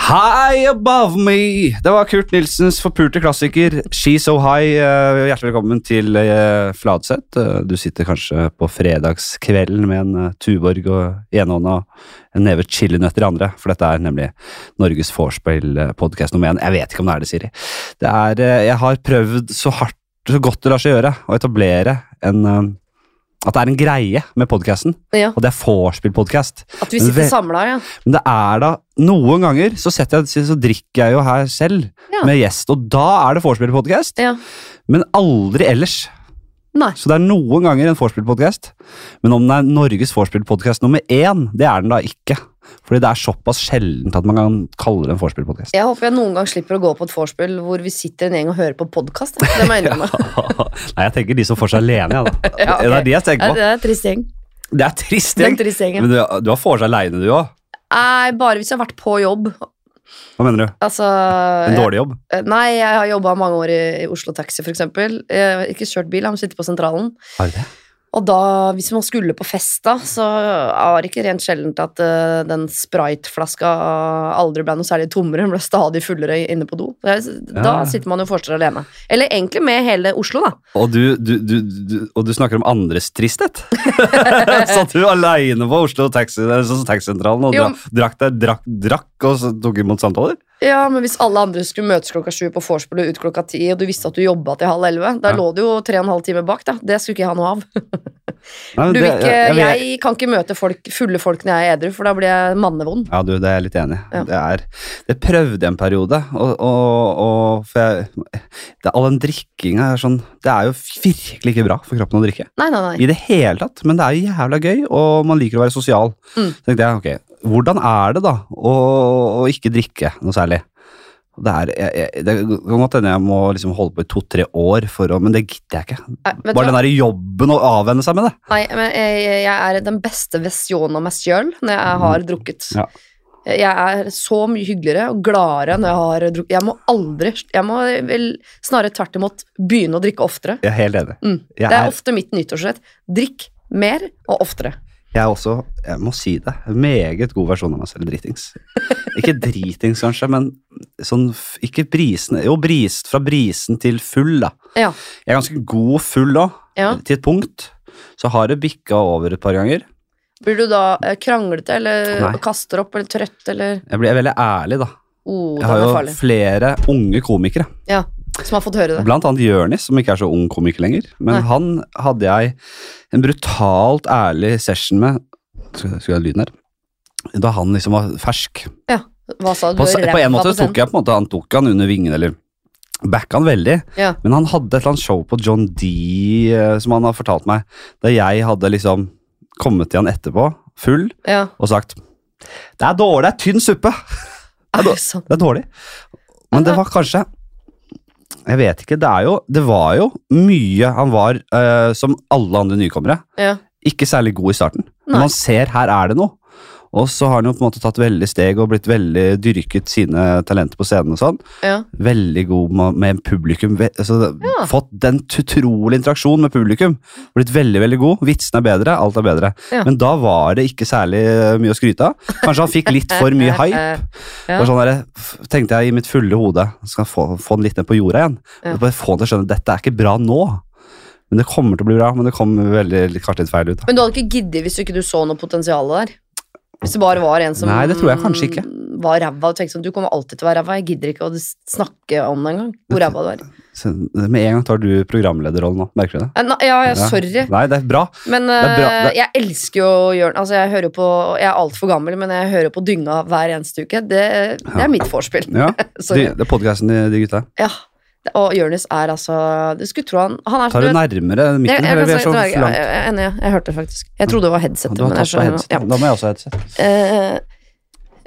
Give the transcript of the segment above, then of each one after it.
High above me! Det var Kurt Nilsens forpulte klassiker She's So High. Eh, Hjertelig velkommen til eh, Fladseth. Eh, Du sitter kanskje på fredagskvelden med en eh, Tuborg og i ene hånda og en neve chilinøtter i andre, for dette er nemlig Norges vorspiel-podkast nummer én. Jeg vet ikke om det er det, Siri. Det er, eh, jeg har prøvd så hardt, så godt det lar seg gjøre, å etablere en eh, at det er en greie med podkasten, Ja, og det er vorspiel-podkast. At vi sitter Ve- samla, ja. Men det er da Noen ganger så, setter jeg, så drikker jeg jo her selv Ja. med gjest, og da er det vorspiel-podkast, ja. men aldri ellers. Nei. Så det er noen ganger en vorspiel-podkast, men om den er Norges vorspiel-podkast nummer én, det er den da ikke. Fordi det er såpass sjeldent at man kan kalle det en vorspiel-podkast. Jeg håper jeg noen gang slipper å gå på et vorspiel hvor vi sitter en gjeng og hører på podkast. Det må jeg innrømme. Nei, jeg tenker de som får seg alene, jeg, da. Ja, ok. Det er de jeg Det tenker på. er en trist gjeng. Det er trist, Det er en gjeng. trist gjeng, ja. Men du, du har får seg aleine, du òg. Nei, bare hvis jeg har vært på jobb. Hva mener du? Altså En dårlig jobb? jeg- Nei, jeg har jobba mange år i, i Oslo Taxi, for eksempel. Jeg har ikke kjørt bil, jeg har sittet på sentralen. Har du det? Og da, hvis man skulle på fest, da, så var det ikke rent sjeldent at eh, den spriteflaska aldri ble noe særlig tommere, den ble stadig fullere inne på do. Da, da Ja. sitter man jo fortsatt alene. Eller egentlig med hele Oslo, da. Og du, du, du, du, og du snakker om andres tristhet? Satt du aleine på Oslo taxi, eller så- taxisentralen og Jo. dra- drakk deg, drakk, drakk og så tok imot samtaler? Ja, men hvis alle andre skulle møtes klokka sju på vorspiel og ut klokka ti, og du visste at du jobba til halv elleve, da Ja. lå du jo tre og en halv time bak, da. Det skulle ikke jeg ha noe av. Nei, men Du, det- vil ikke, jeg kan ikke møte folk, fulle folk når jeg er edru, for da blir jeg mannevond. Ja, du, det er jeg litt enig i. Ja. Det, er- det prøvde jeg en periode, og, og, og for jeg, det, all den drikkinga er sånn Det er jo virkelig ikke bra for kroppen å drikke. Nei, nei, nei. I det hele tatt, men det er jo jævla gøy, og man liker å være sosial. Mm. Så tenkte jeg, ok, hvordan er det da å, å ikke drikke noe særlig? Og Det, er, jeg, jeg, det kan godt hende jeg må liksom holde på i to-tre år, for å, men det gidder jeg ikke. Nei, vet du Bare hva? den der jobben å avvenne seg med det. Nei, men jeg, jeg er den beste versjonen av meg sjøl når jeg har drukket. Mm. Ja. Jeg er så mye hyggeligere og gladere når jeg har drukket. Jeg må aldri Jeg må vel snarere tvert imot begynne å drikke oftere. Jeg er helt enig. Mm. Jeg, Det er er, ofte mitt nyttårsrett. Drikk mer og oftere. jeg er også, jeg må si det, en meget god versjon av meg selv dritings. Ikke dritings kanskje, men sånn, f- ikke brisen, jo brist, fra brisen til full da. Ja. Jeg er ganske god og full også, ja. til et punkt. Så har det bikka over et par ganger. Blir du da eh, kranglete eller Nei. kaster opp eller trøtt eller Jeg blir veldig ærlig, da. oh, Jeg Den har er jo farlig. flere unge komikere. Ja. Som har fått høre det. Blant annet Jørnis, som ikke er så ung komiker lenger. Men Nei. han hadde jeg en brutalt ærlig session med Skal skal jeg ha lyden her? Da han liksom var fersk. Hva sa du? På, Du på en rappa måte på scenen. tok jeg på en måte, han tok han under vingen, eller backa han veldig. Ja. Men han hadde et eller annet show på John D, eh, som han har fortalt meg, der jeg hadde liksom kommet til han etterpå, full, ja. og sagt Det er dårlig, det er tynn suppe! Er da- det sant? Det er dårlig. Men det var kanskje Jeg vet ikke. Det, er jo, det var jo mye han var eh, som alle andre nykommere. Ja. Ikke særlig god i starten. Nei. Men man ser her er det noe. Og så har han jo på en måte tatt veldig steg og blitt veldig dyrket sine talenter på scenen. og sånn. ja. Veldig god ma- med publikum. ve- Altså, Ja. Fått den t- utrolige interaksjonen med publikum. Blitt veldig veldig god. Vitsene er bedre, alt er bedre. Ja. Men da var det ikke særlig eh, mye å skryte av. Kanskje han fikk litt for mye hype. Eh, Ja. Det var Sånn der, f- tenkte jeg i mitt fulle hode Skal jeg få, få den litt ned på jorda igjen Ja. Bare få den til å skjønne Dette er ikke bra nå Men det kommer til å bli bra Men det kommer veldig, litt- kanskje litt feil ut da. Men du hadde ikke giddet hvis du ikke du så noe potensial der? Hvis det bare var en som Nei, det tror jeg kanskje ikke. var ræva og tenkte sånn Du kommer alltid til å være ræva, jeg gidder ikke å snakke om det engang. Hvor ræva du er. Så Med en gang tar du programlederrollen nå Merker du det? Eh, nei, Ja, ja, sorry. Nei, det er bra Men er bra, eh, det- jeg elsker jo Jørn. Altså, jeg hører jo på Jeg er altfor gammel, men jeg hører på Dynga hver eneste uke. Det, det Ja. er mitt vorspiel. ja, de, Sorry. Det er podcasten de, de gutta Ja. Og Jonis er altså Du skulle tro han Han er Tar du du vet- nærmere jeg, mikken jeg, for kan vi er si- så jeg, jeg, langt jeg, er enig, jeg, jeg hørte det faktisk. Jeg trodde det var Ja, headsetet. Du har men jeg tatt på skjønner- headset ja. Da må jeg også ha headset Eh,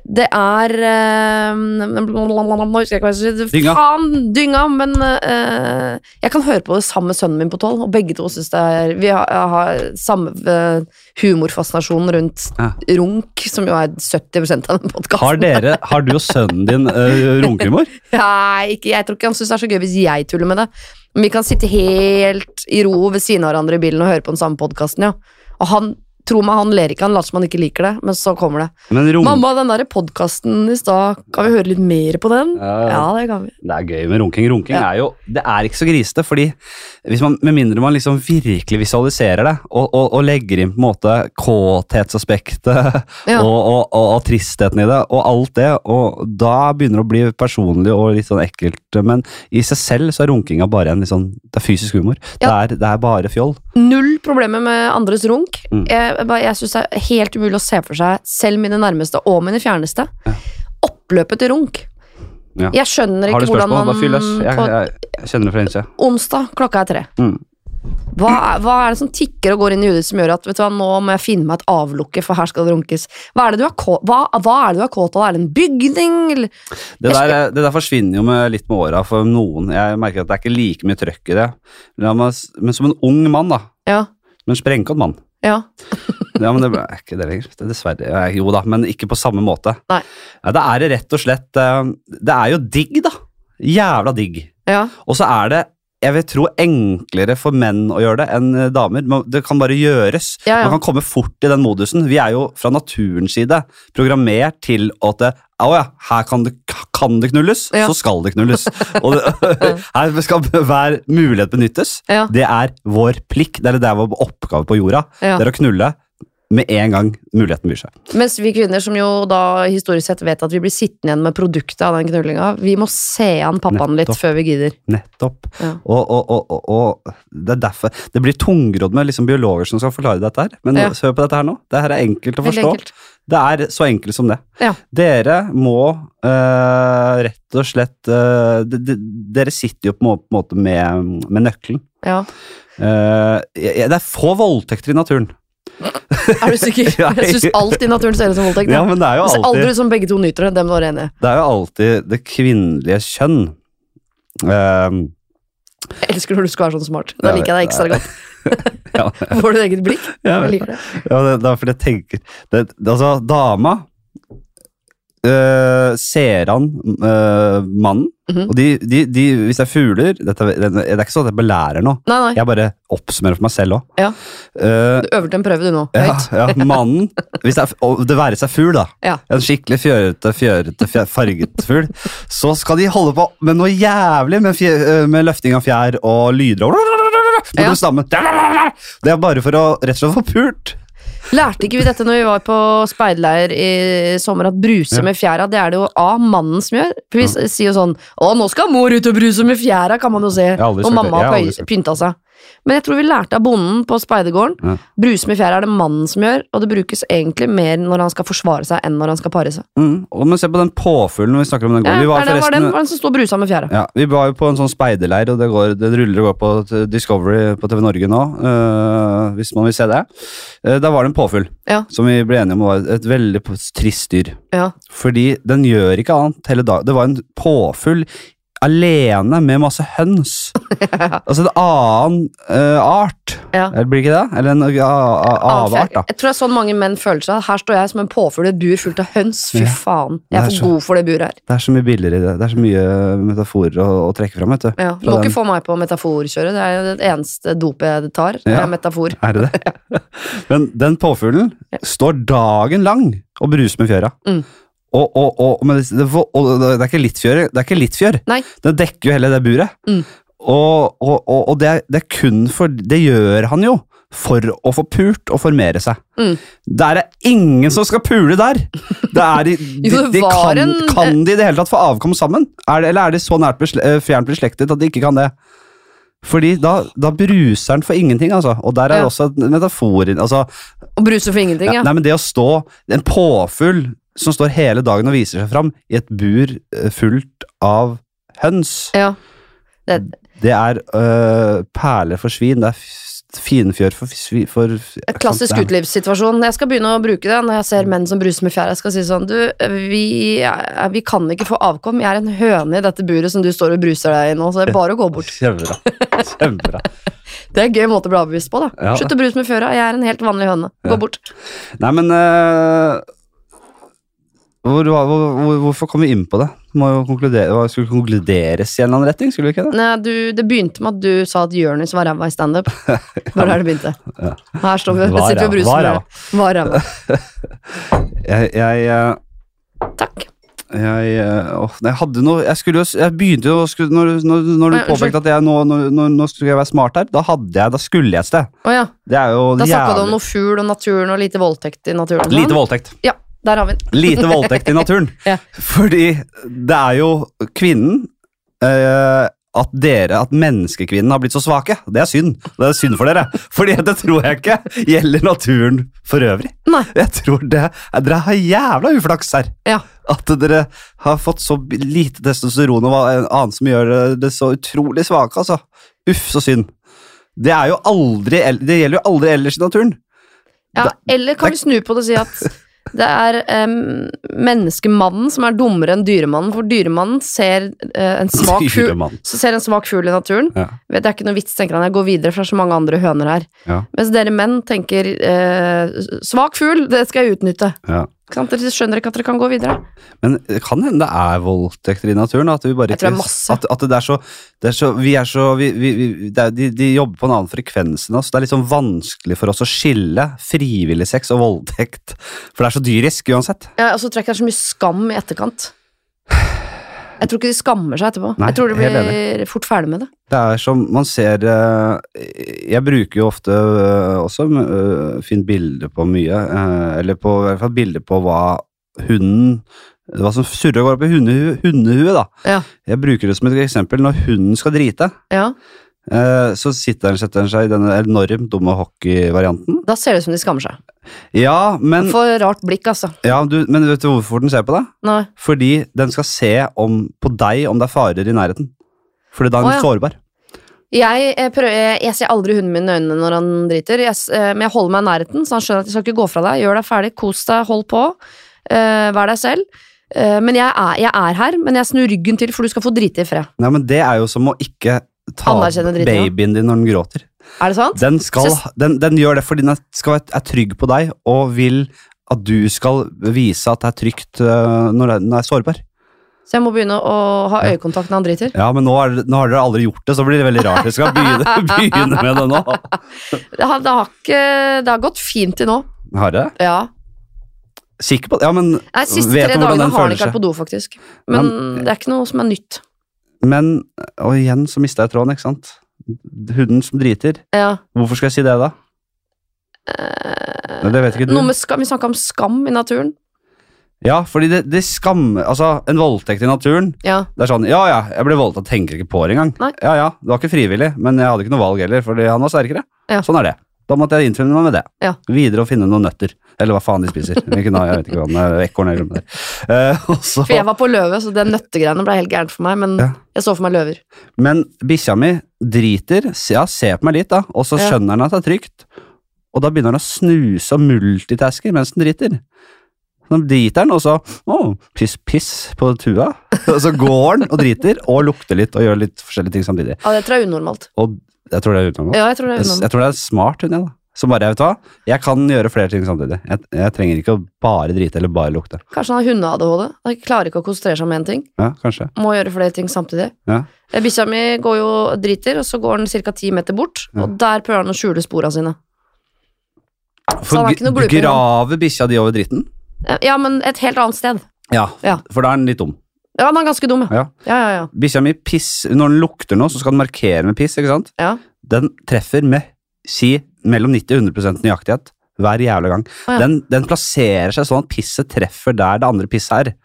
det er eh, Nå husker jeg ikke hva jeg skulle si. Dynga. Faen, dynga! Men eh, jeg kan høre på det sammen med sønnen min på tolv, og begge to syns det er Vi har, har samme eh, humorfascinasjon rundt Ja. runk, som jo er 70 av har, den podkasten. dere, har du og sønnen din uh, runkehumor? Nei, ikke, jeg tror ikke han syns det er så gøy hvis jeg tuller med det. Men vi kan sitte helt i ro ved siden av hverandre i bilen og høre på den samme podkasten, ja. Og han Tro meg, han ler ikke, han later som han ikke liker det, men så kommer det. Men rom... Mamma, den der podkasten i stad, kan vi høre litt mer på den? Ja, Ja, det kan vi. det er gøy med runking. Runking Ja. er jo Det er ikke så grisete, fordi hvis man, med mindre man liksom virkelig visualiserer det, og, og, og legger inn på en måte kåthetsaspektet Ja. og, og, og, og tristheten i det, og alt det, og da begynner det å bli personlig og litt sånn ekkelt. Men i seg selv så er runkinga bare en litt sånn Det er fysisk humor. Ja. Det, er, det er bare fjoll. Null problemer med andres runk. Mm. Jeg, jeg bare- jeg syns det er helt umulig å se for seg selv mine nærmeste og mine fjerneste. Oppløpet til runk. Ja. Jeg skjønner Har ikke du hvordan spørsmål, man bare fyll løs. Jeg, på jeg, jeg kjenner det fra innsida. onsdag klokka er tre. Mm. Hva, er- hva er det som tikker og går inn i hodet ditt som gjør at vet du hva, nå må jeg finne meg et avlukke, for her skal det runkes? Hva er det du er kå- hva, hva er, det du er kåt av? Er det en bygning? eller- Det der, det der forsvinner jo med, litt med åra for noen. Jeg merker at det er ikke like mye trøkk i det. La meg, s- men som en ung mann, da. Ja. Men sprengkåt mann. ja. Ja, men det er ikke det lenger. Det er dessverre. Eh, Jo da, men ikke på samme måte. Nei. Ja, det er det rett og slett eh, Det er jo digg, da. Jævla digg. ja. Og så er det jeg vil tro enklere for menn å gjøre det enn eh, damer. Man- Det kan bare gjøres. Ja, ja. Man kan komme fort i den modusen. Vi er jo fra naturens side programmert til at eh, å ja, her kan det, kan det knulles, Ja. så skal det knulles. Og det, her skal hver mulighet benyttes. Ja. Det er vår plikt, det er det der vår oppgave på jorda. Ja. Det er å knulle med en gang muligheten byr seg. Mens vi kvinner, som jo da historisk sett vet at vi blir sittende igjen med produktet av den knullinga, vi må se an pappaen litt Nettopp. før vi gidder. Nettopp. Ja. Og, og, og, og, og det er derfor Det blir tungrodd med liksom biologer som skal forklare dette her. Men Ja. hør på dette her nå. Det her er enkelt å Veldig forstå. enkelt. Det er så enkelt som det. Ja. Dere må eh, rett og slett eh, de, de, Dere sitter jo på en må- på en måte med, med nøkkelen. Ja. Eh, jeg- jeg- det er få voldtekter i naturen. Er du sikker? Ja, Jeg syns alt i naturen ser ut som voldtekt. Ja, Ja, men det er jo det ser alltid aldri ut som begge to nyter det. Dem var enige. Det er jo alltid det kvinnelige kjønn. Ehm, Jeg elsker når du skal være sånn smart. Da Ja, liker jeg deg ekstra godt. ja, Får du eget blikk? Jeg ja, liker det. ja, det, det er fordi jeg tenker det, det, Altså, dama øh, ser han øh, mannen, Mhm. og de, de, de, hvis det er fugler dette, er- det, det er ikke sånn at jeg belærer noe. Nei, nei. Jeg bare oppsummerer for meg selv òg. Ja. Du øver til en prøve, du nå. ja, Høyt. ja, mannen Hvis det, er, og det være seg fugl, da. Ja. En skikkelig fjørete, fjørete, fje- farget fugl. Så skal de holde på med noe jævlig med, fje, øh, med løfting av fjær og lyder og Ja. Bortover stammen. Det er bare for å rett og slett få pult. Lærte ikke vi dette når vi var på speiderleir i sommer, at bruse Ja. med fjæra, det er det jo A, mannen som gjør. For vi s- sier jo sånn Å, nå skal mor ut og bruse med fjæra, kan man jo se. har aldri Og sagt det. mamma Jeg har har aldri pøy- sagt pynta seg. Men jeg tror vi lærte av bonden på speidergården. Ja. Bruse med fjæra er det mannen som gjør, og det brukes egentlig mer når han skal forsvare seg, enn når han skal pare seg. Mm. Og, men se på den påfuglen når vi snakker om den Ja, gården. Vi var er det var den, forresten var den som sto og brusa med fjæra. ja, vi var jo på en sånn speiderleir, og det, går, det ruller og går på t- Discovery på TV Norge nå. øh, hvis man vil se det. Eh, da var det en påfugl Ja. som vi ble enige om var et veldig p- trist dyr. Ja. Fordi den gjør ikke annet hele dagen. Det var en påfugl alene med masse høns. Altså en annen øh, art. Ja. Eller blir det ikke det? Eller en a- a- avart, da. Jeg tror det er sånn mange menn føler seg. Her står jeg som en påfugl i et bur fullt av høns. Fy Ja. faen. Jeg er Det er for god for det buret her. Det er så mye bilder i det. Det er så mye metaforer å, å trekke fram. vet du. Ja, du Fra må den- ikke få meg på metaforkjøret. Det er jo det eneste dopet jeg tar. Det Ja. er metafor. Er det det? Men den påfuglen står dagen lang og bruser med fjøra. Mm. Og, og, og, men det, det, og det er ikke litt fjør, det er ikke litt fjør. Nei. Den dekker jo hele det buret. Mm. Og, og, og, og det, er, det er kun for Det gjør han jo for å få pult og formere seg. Mm. Der er ingen som skal pule der! Det er de, de, Jo, det de var kan, en- kan de i det hele tatt få avkom sammen? Er det, eller er de så nært besle, eh, fjernt beslektet at de ikke kan det? Fordi da, da bruser han for ingenting, altså. Og der er Ja. også en metafor inn- altså, Og bruse for ingenting, ja. Nei, men det å stå En påfugl som står hele dagen og viser seg fram i et bur eh, fullt av høns, ja. Det, det er øh, perler for svin. Det er f- finfjør for svin for, et klassisk Det Mm. er- utelivssituasjon. Jeg skal begynne å bruke det når jeg ser menn som bruser med fjær. Jeg skal si sånn Du, vi, er- vi kan ikke få avkom. Jeg er en høne i dette buret som du står og bruser deg i nå, så det er bare å gå bort. Kjempebra. Kjempebra. Det er en gøy måte å bli avbevist på, da. Ja. Slutt å bruse med fjøra. Jeg er en helt vanlig høne. Gå bort. Nei, men øh, Hvor, var- hvor, hvor, hvorfor kom vi inn på det? Må jo konkludere, hva- skulle konkluderes i en eller annen retning, skulle vi ikke det? Nei, du, det begynte med at du sa at Jonis var ræva i standup. Det var der det begynte. Ja. Her står vi og Var sitter vi ræva, og bruser var med ræva. det. Var ræva. Jeg, jeg, eh, Takk. jeg, eh, åh, nei, jeg hadde noe Jeg, skulle jo, s- jeg begynte jo å skulle, når, når, når du Nei, unnskyld. påpekte at jeg, nå, nå, nå, nå skulle jeg være smart her, da, hadde jeg, da skulle jeg et sted. Å ja. Det er jo Da snakka du jævlig- om noe fugl og naturen og lite voldtekt i naturen. og sånn. Lite voldtekt. ja, der har vi den. Lite voldtekt i naturen. Ja. Fordi det er jo kvinnen eh, At dere, at menneskekvinnen har blitt så svake. Det er synd. Det er synd for dere. Fordi det tror jeg ikke gjelder naturen for øvrig. Nei. Jeg tror det, Dere har jævla uflaks her. Ja. At dere har fått så lite testosteron og hva annet som gjør det så utrolig svake. altså. Uff, så synd. Det, er jo aldri, el- det gjelder jo aldri ellers i naturen. Ja, eller kan det- vi snu på det og si at det er em, menneskemannen som er dummere enn dyremannen, for dyremannen ser, eh, en, svak fugl, Dyremann. så ser en svak fugl i naturen. Ja. Det er ikke noe vits, tenker han. Jeg går videre, for det er så mange andre høner her. Ja. Mens dere menn tenker eh, svak fugl, det skal jeg utnytte. Ja. Ikke sant? Dere skjønner ikke at dere kan gå videre. Men det kan hende det er voldtekter i naturen. At vi bare Jeg tror det er ikke- masse. At, at det er så, det er så Vi er så vi, vi, vi, det er, de, de jobber på en annen frekvens enn oss. Det er litt sånn vanskelig for oss å skille frivillig sex og voldtekt. For det er så dyrisk uansett. Ja, og så tror jeg ikke det er så mye skam i etterkant. Jeg tror ikke de skammer seg etterpå. Nei, jeg tror de helt blir fort ferdig med det. Det er som man ser eh, Jeg bruker jo ofte eh, også eh, fint bilde på mye, eh, eller på, i hvert fall bilde på hva hunden Hva som surrer og går opp i hundehu- hundehuet, da. Ja. Jeg bruker det som et eksempel når hunden skal drite. Ja, Eh, Så sitter han, setter han seg i denne enormt dumme hockeyvarianten. Da ser det ut som de skammer seg. Ja, men, For rart blikk, altså. ja, du, men vet du hvorfor den ser på deg? Nei. Fordi den skal se om, på deg om det er farer i nærheten. Fordi da er den Å, ja. sårbar. Jeg, eh, prøver, jeg- jeg ser aldri hunden min i øynene når han driter, jeg, s- eh, men jeg holder meg i nærheten, så han skjønner at jeg skal ikke gå fra deg. Gjør deg ferdig, kos deg, hold på. eh, vær deg selv. Eh, men jeg er, jeg er her, men jeg snur ryggen til, for du skal få drite i fred. Nei, men det er jo som å ikke ta Anerkjenne dritten, ja. babyen din når den gråter. Er det sant? Den, skal, Så- den, den gjør det fordi den er, skal, være- er trygg på deg og vil at du skal vise at det er trygt øh, når den er sårbar. Så jeg må begynne å ha Ja. øyekontakt når han driter. Ja, men nå, er, det- nå har dere aldri gjort det, så blir det veldig rart. Dere skal begynne, begynne med det nå. Det har, det har, ikke, det har gått fint til nå. Har dere? Ja. Sikker på det? Ja, men, Nei, de siste Vet du tre hvordan dagene den har han føler ikke vært seg? på do, faktisk. Men Nei, men- det er ikke noe som er nytt. men Og igjen så mista jeg tråden, ikke sant? Hunden som driter. Ja. Hvorfor skal jeg si det, da? Nei, det vet ikke du. Eh, Noe med skam, vi snakka om skam i naturen. Ja, fordi det, det skammer Altså, en voldtekt i naturen Ja. Det er sånn Ja, ja, jeg ble voldtatt, tenker ikke på det engang. Nei. Ja, ja, det var ikke frivillig, men jeg hadde ikke noe valg heller, fordi han var sterkere. Ja. Sånn er det. Da måtte jeg innfinne meg med det. Ja. Videre og finne noen nøtter. Eller hva faen de spiser. Vi kunne ha, jeg vet ikke hva, den er, ekorn eller noe der. Eh, og så- For jeg var på løve, så den nøttegreiene ble helt gærent for meg, men Ja. jeg så for meg løver. Men bikkja mi driter, se- ja, se på meg litt da, og så Ja. skjønner han at det er trygt. Og da begynner han å snuse og multitaske mens den driter. Så driter han, og så å, piss, piss på tua. Og så går han og driter, og lukter litt og gjør litt forskjellige ting samtidig. Ja, det tror jeg er unormalt. Og jeg tror det er utenom. Ja, jeg tror det Jeg, er s- unormalt. jeg tror det er smart hun, jeg da. Som bare, vet du hva, jeg kan gjøre flere ting samtidig. Jeg, jeg trenger ikke å bare drite eller bare lukte. Kanskje han har hunde-ADHD. Han klarer ikke å konsentrere seg om én ting. Ja, kanskje. Må gjøre flere ting samtidig. Ja. Eh, Bikkja mi går jo og driter, og så går den ca. ti meter bort, Ja. og der prøver han å skjule spora sine. Så han For er ikke noe gra- gluping, grave bikkja di over dritten? Eh, Ja, men et helt annet sted. Ja, Ja. for da er den litt dum. Ja, han er ganske dum, ja. Ja. Ja, ja, ja. Bikkja mi piss, når den lukter noe, så skal den markere med piss, ikke sant? Ja. Den treffer med, si, mellom 90 og 100 nøyaktighet hver jævla gang. Å, ja. den, den plasserer seg sånn at pisset treffer der det andre pisset er.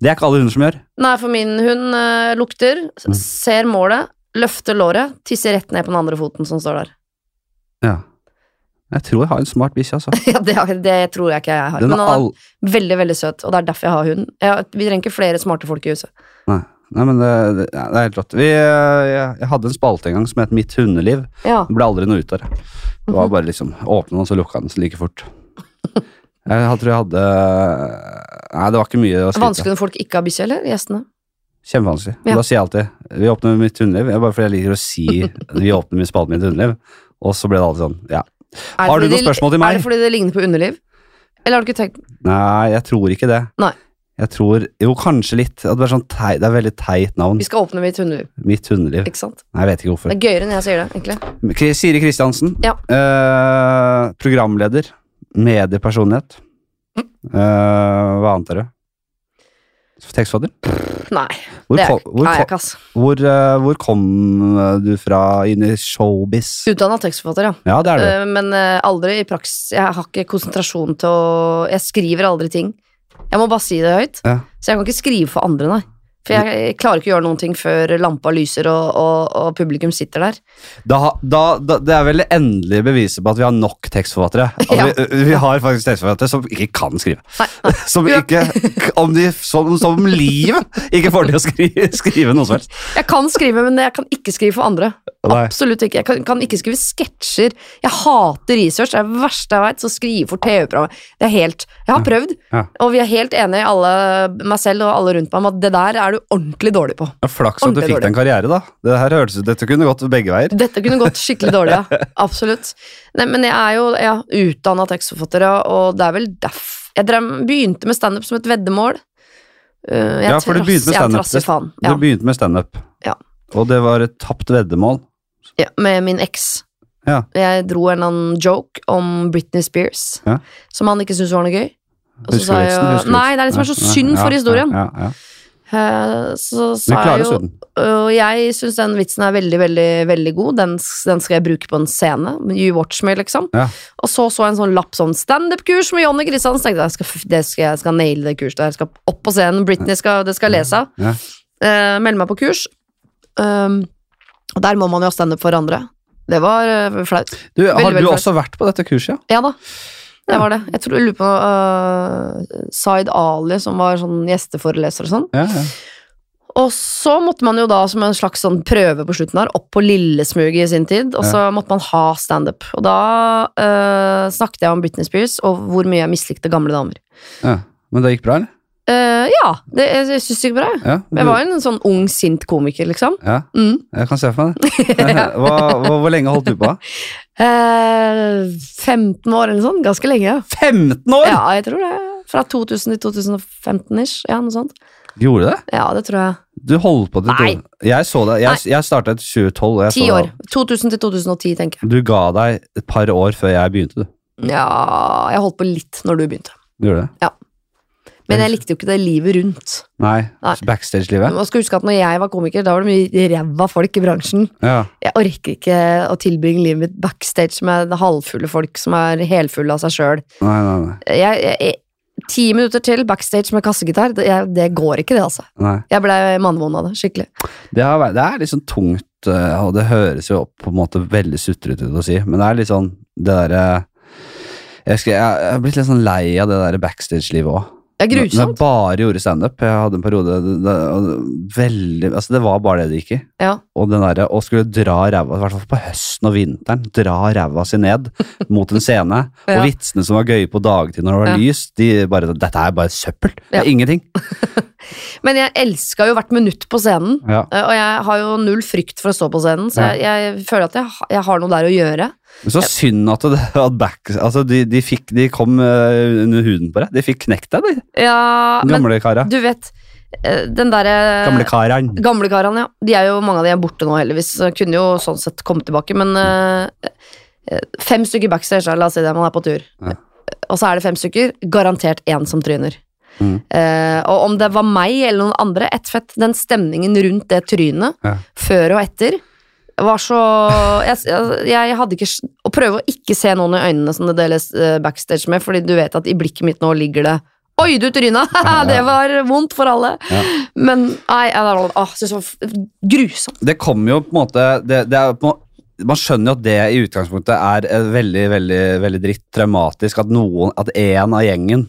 Det er ikke alle hunder som gjør. Nei, for min hund eh, lukter, s- Mm. ser målet, løfter låret, tisser rett ned på den andre foten som står der. Ja. Jeg tror jeg har en smart bikkje, altså. Ja, det, det tror jeg ikke jeg har. Den Men er han all... er veldig, veldig søt, og det er derfor jeg har hund. Jeg, vi trenger ikke flere smarte folk i huset. Nei, men det, det, ja, det er helt rått. Vi, eh, jeg, jeg hadde en spalte en gang som het Mitt hundeliv. Ja. Det ble aldri noe ut av det. Det Mhm. var bare liksom åpne den, og så lukka den like fort. Jeg tror jeg hadde Nei, det var ikke mye å skryte av. Vanskelig når folk ikke har bikkje, eller? Gjestene. Kjempevanskelig. Ja. Da sier jeg alltid Vi åpner mitt hundeliv. Det er bare fordi jeg liker å si vi åpner min spalte mitt hundeliv. Og så ble det alltid sånn. Ja. Er det Har du fordi noen de- spørsmål til Er meg? det fordi det ligner på underliv? Eller har du ikke tenkt Nei, jeg tror ikke det. Nei. Jeg tror Jo, kanskje litt. At det, er sånn tei, det er veldig teit navn. Vi skal åpne mitt hundeliv, Mitt hundeliv. ikke sant? Nei, jeg vet ikke hvorfor. Det er gøyere enn jeg sier det, egentlig. Kri- Siri Kristiansen. Ja. Eh, programleder. Mediepersonlighet. Mm. Eh, hva annet er det? Tekstforfatter. Nei, Hvor, det er, ko- hvor, er jeg ko- ikke, ass. hvor, eh, hvor kom eh, du fra inn i showbiz? Utdanna tekstforfatter, ja. Ja, det er du. Eh, Men eh, aldri i praksis. Jeg har ikke konsentrasjon til å Jeg skriver aldri ting. Jeg må bare si det høyt. Ja. Så jeg kan ikke skrive for andre, nei. For jeg, jeg klarer ikke å gjøre noen ting før lampa lyser og, og, og publikum sitter der. Da, ha- da, da, det er vel det endelige beviset på at vi har nok tekstforfattere. At Ja. vi, vi har faktisk tekstforfattere som ikke kan skrive. Nei, nei. Som Ja. ikke, om de, som, som livet, ikke får til å skrive, skrive noe som helst. Jeg kan skrive, men jeg kan ikke skrive for andre. Nei. Absolutt ikke. Jeg kan, kan ikke skrive sketsjer. Jeg hater research. Det er det verste jeg veit. Så skrive for TV-programmet Det er helt Jeg har prøvd, Ja. og vi er helt enige, alle, meg selv og alle rundt meg, om at det der er du ordentlig dårlig på. Ja, Flaks at du Ordentlig fikk deg en karriere, da. Det her hørtes ut, Dette kunne gått begge veier. Dette kunne gått skikkelig dårlig, ja. Absolutt. Nei, men jeg er jo ja, utdanna tekstforfatter, ja, og det er vel derf... Jeg drev, begynte med standup som et veddemål. Uh, jeg Ja, for du trass- begynte med jeg er stand-up. trassig faen. Ja. Du begynte med standup, Ja. og det var et tapt veddemål. ja, med min eks. Ja. Jeg dro en eller annen joke om Britney Spears, Ja. som han ikke syntes var noe gøy. Og så Husker sa du jeg vitsen? jo- Husker du Nei, det er vitsen? det som er så Ja, synd ja, for historien. Ja, ja, ja. Eh, så Men sa jeg klarer jo den. Og jeg syns den vitsen er veldig, veldig veldig god. Den, den skal jeg bruke på en scene. You watch me, liksom. Ja. Og så så jeg en sånn lapp sånn standup-kurs med Jonny Kristiansen. Tenkte jeg, jeg skal, det skal, jeg skal naile det kurset der. Jeg skal opp på scenen. Britney skal, det skal jeg lese av. Ja. Eh, melde meg på kurs. Um, og der må man jo ha standup for andre. Det var eh, flaut. Du, har veldig du flaut. også vært på dette kurset? ja? Ja da. Det Ja. var det. Jeg tror jeg lurer på uh, Zaid Ali, som var sånn gjesteforeleser og sånn. Ja, ja. Og så måtte man jo da som en slags sånn prøve på slutten her, opp på Lillesmuget i sin tid, og så måtte man ha standup. Og da eh, snakket jeg om Britney Spears og hvor mye jeg mislikte gamle damer. ja. Men det gikk bra, eller? Eh, ja, det, jeg, jeg syns det gikk bra. jeg. Ja. Jeg var en sånn ung, sint komiker, liksom. ja. Mm. Jeg kan se for meg det. Hva, hva, hvor lenge holdt du på? Eh, 15 år eller sånn. Ganske lenge. ja. 15 år! Ja, jeg tror det. Fra 2000 til 2015 ish. Ja, noe sånt. Gjorde du det? Ja, det tror jeg. Du holdt på til Nei. Jeg så deg. Jeg, jeg starta i 2012. og jeg Ti så år. deg- 2000 til 2010, tenker jeg. Du ga deg et par år før jeg begynte, du. Ja, jeg holdt på litt når du begynte. Du Gjorde det? Men jeg likte jo ikke det livet rundt. Nei. Nei. Backstage-livet? Man skal huske at når jeg var komiker, da var det mye ræva folk i bransjen. Ja. Jeg orker ikke å tilbringe livet mitt backstage med halvfulle folk som er helfulle av seg sjøl. Nei, nei, nei. Ti minutter til backstage med kassegitar, det, jeg, det går ikke, det, altså. nei. Jeg ble mannvond av det, skikkelig. Det, har, vært- det er litt sånn tungt, eh, og det høres jo på en måte veldig sutrete ut å si, men det er litt sånn det derre jeg, husker- jeg, jeg har blitt litt sånn lei av det der backstage-livet òg. Det er Når jeg grusomt. bare gjorde standup. Jeg hadde en periode det, det, og veldig, altså det var bare det det gikk i. Ja. Og den derre å skulle dra ræva, i hvert fall på høsten og vinteren, dra ræva si ned mot en scene. Ja. Og vitsene som var gøye på dagtid når det var Ja. lyst, de bare Dette er bare søppel. Det er Ja. ingenting. Men jeg elska jo hvert minutt på scenen. Ja. eh, Og jeg har jo null frykt for å stå på scenen, så jeg, jeg føler at jeg, ha- jeg har noe der å gjøre. Men Så synd at, det, at back, altså de, de, fikk, de kom eh, under huden på deg. De fikk knekt deg, de Ja, men gamle kara. du vet, eh, den derre Gamle karan. Gamlekarene, ja. De er jo, mange av de er borte nå, heldigvis. Så Kunne jo sånn sett komme tilbake, men eh, Fem stykker backstage, da, la oss si det, man er på tur. Ja. Og så er det fem stykker, garantert én som tryner. Mm. Eh, og om det var meg eller noen andre, ett fett, den stemningen rundt det trynet, Ja. før og etter, var så jeg, jeg, jeg hadde ikke s- Å prøve å ikke se noen i øynene som det deles eh, backstage med, fordi du vet at i blikket mitt nå ligger det Oi, du tryna! Ja, ja. det var vondt for alle. Ja. Men nei, jeg, jeg, jeg synes det var f- grusomt. Det kom jo på en måte det, det er på, en må- Man skjønner jo at det i utgangspunktet er eh, veldig, veldig, veldig dritt traumatisk at noen, at én av gjengen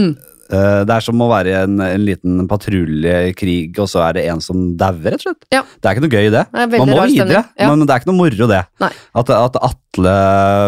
Mm. eh, Det er som å være i en, en liten patruljekrig, og så er det en som dauer, rett og slett. Ja. Det er ikke noe gøy, det. Det er en Man veldig må rar stemning. videre, Ja. men det er ikke noe moro det. Nei. At, at Atle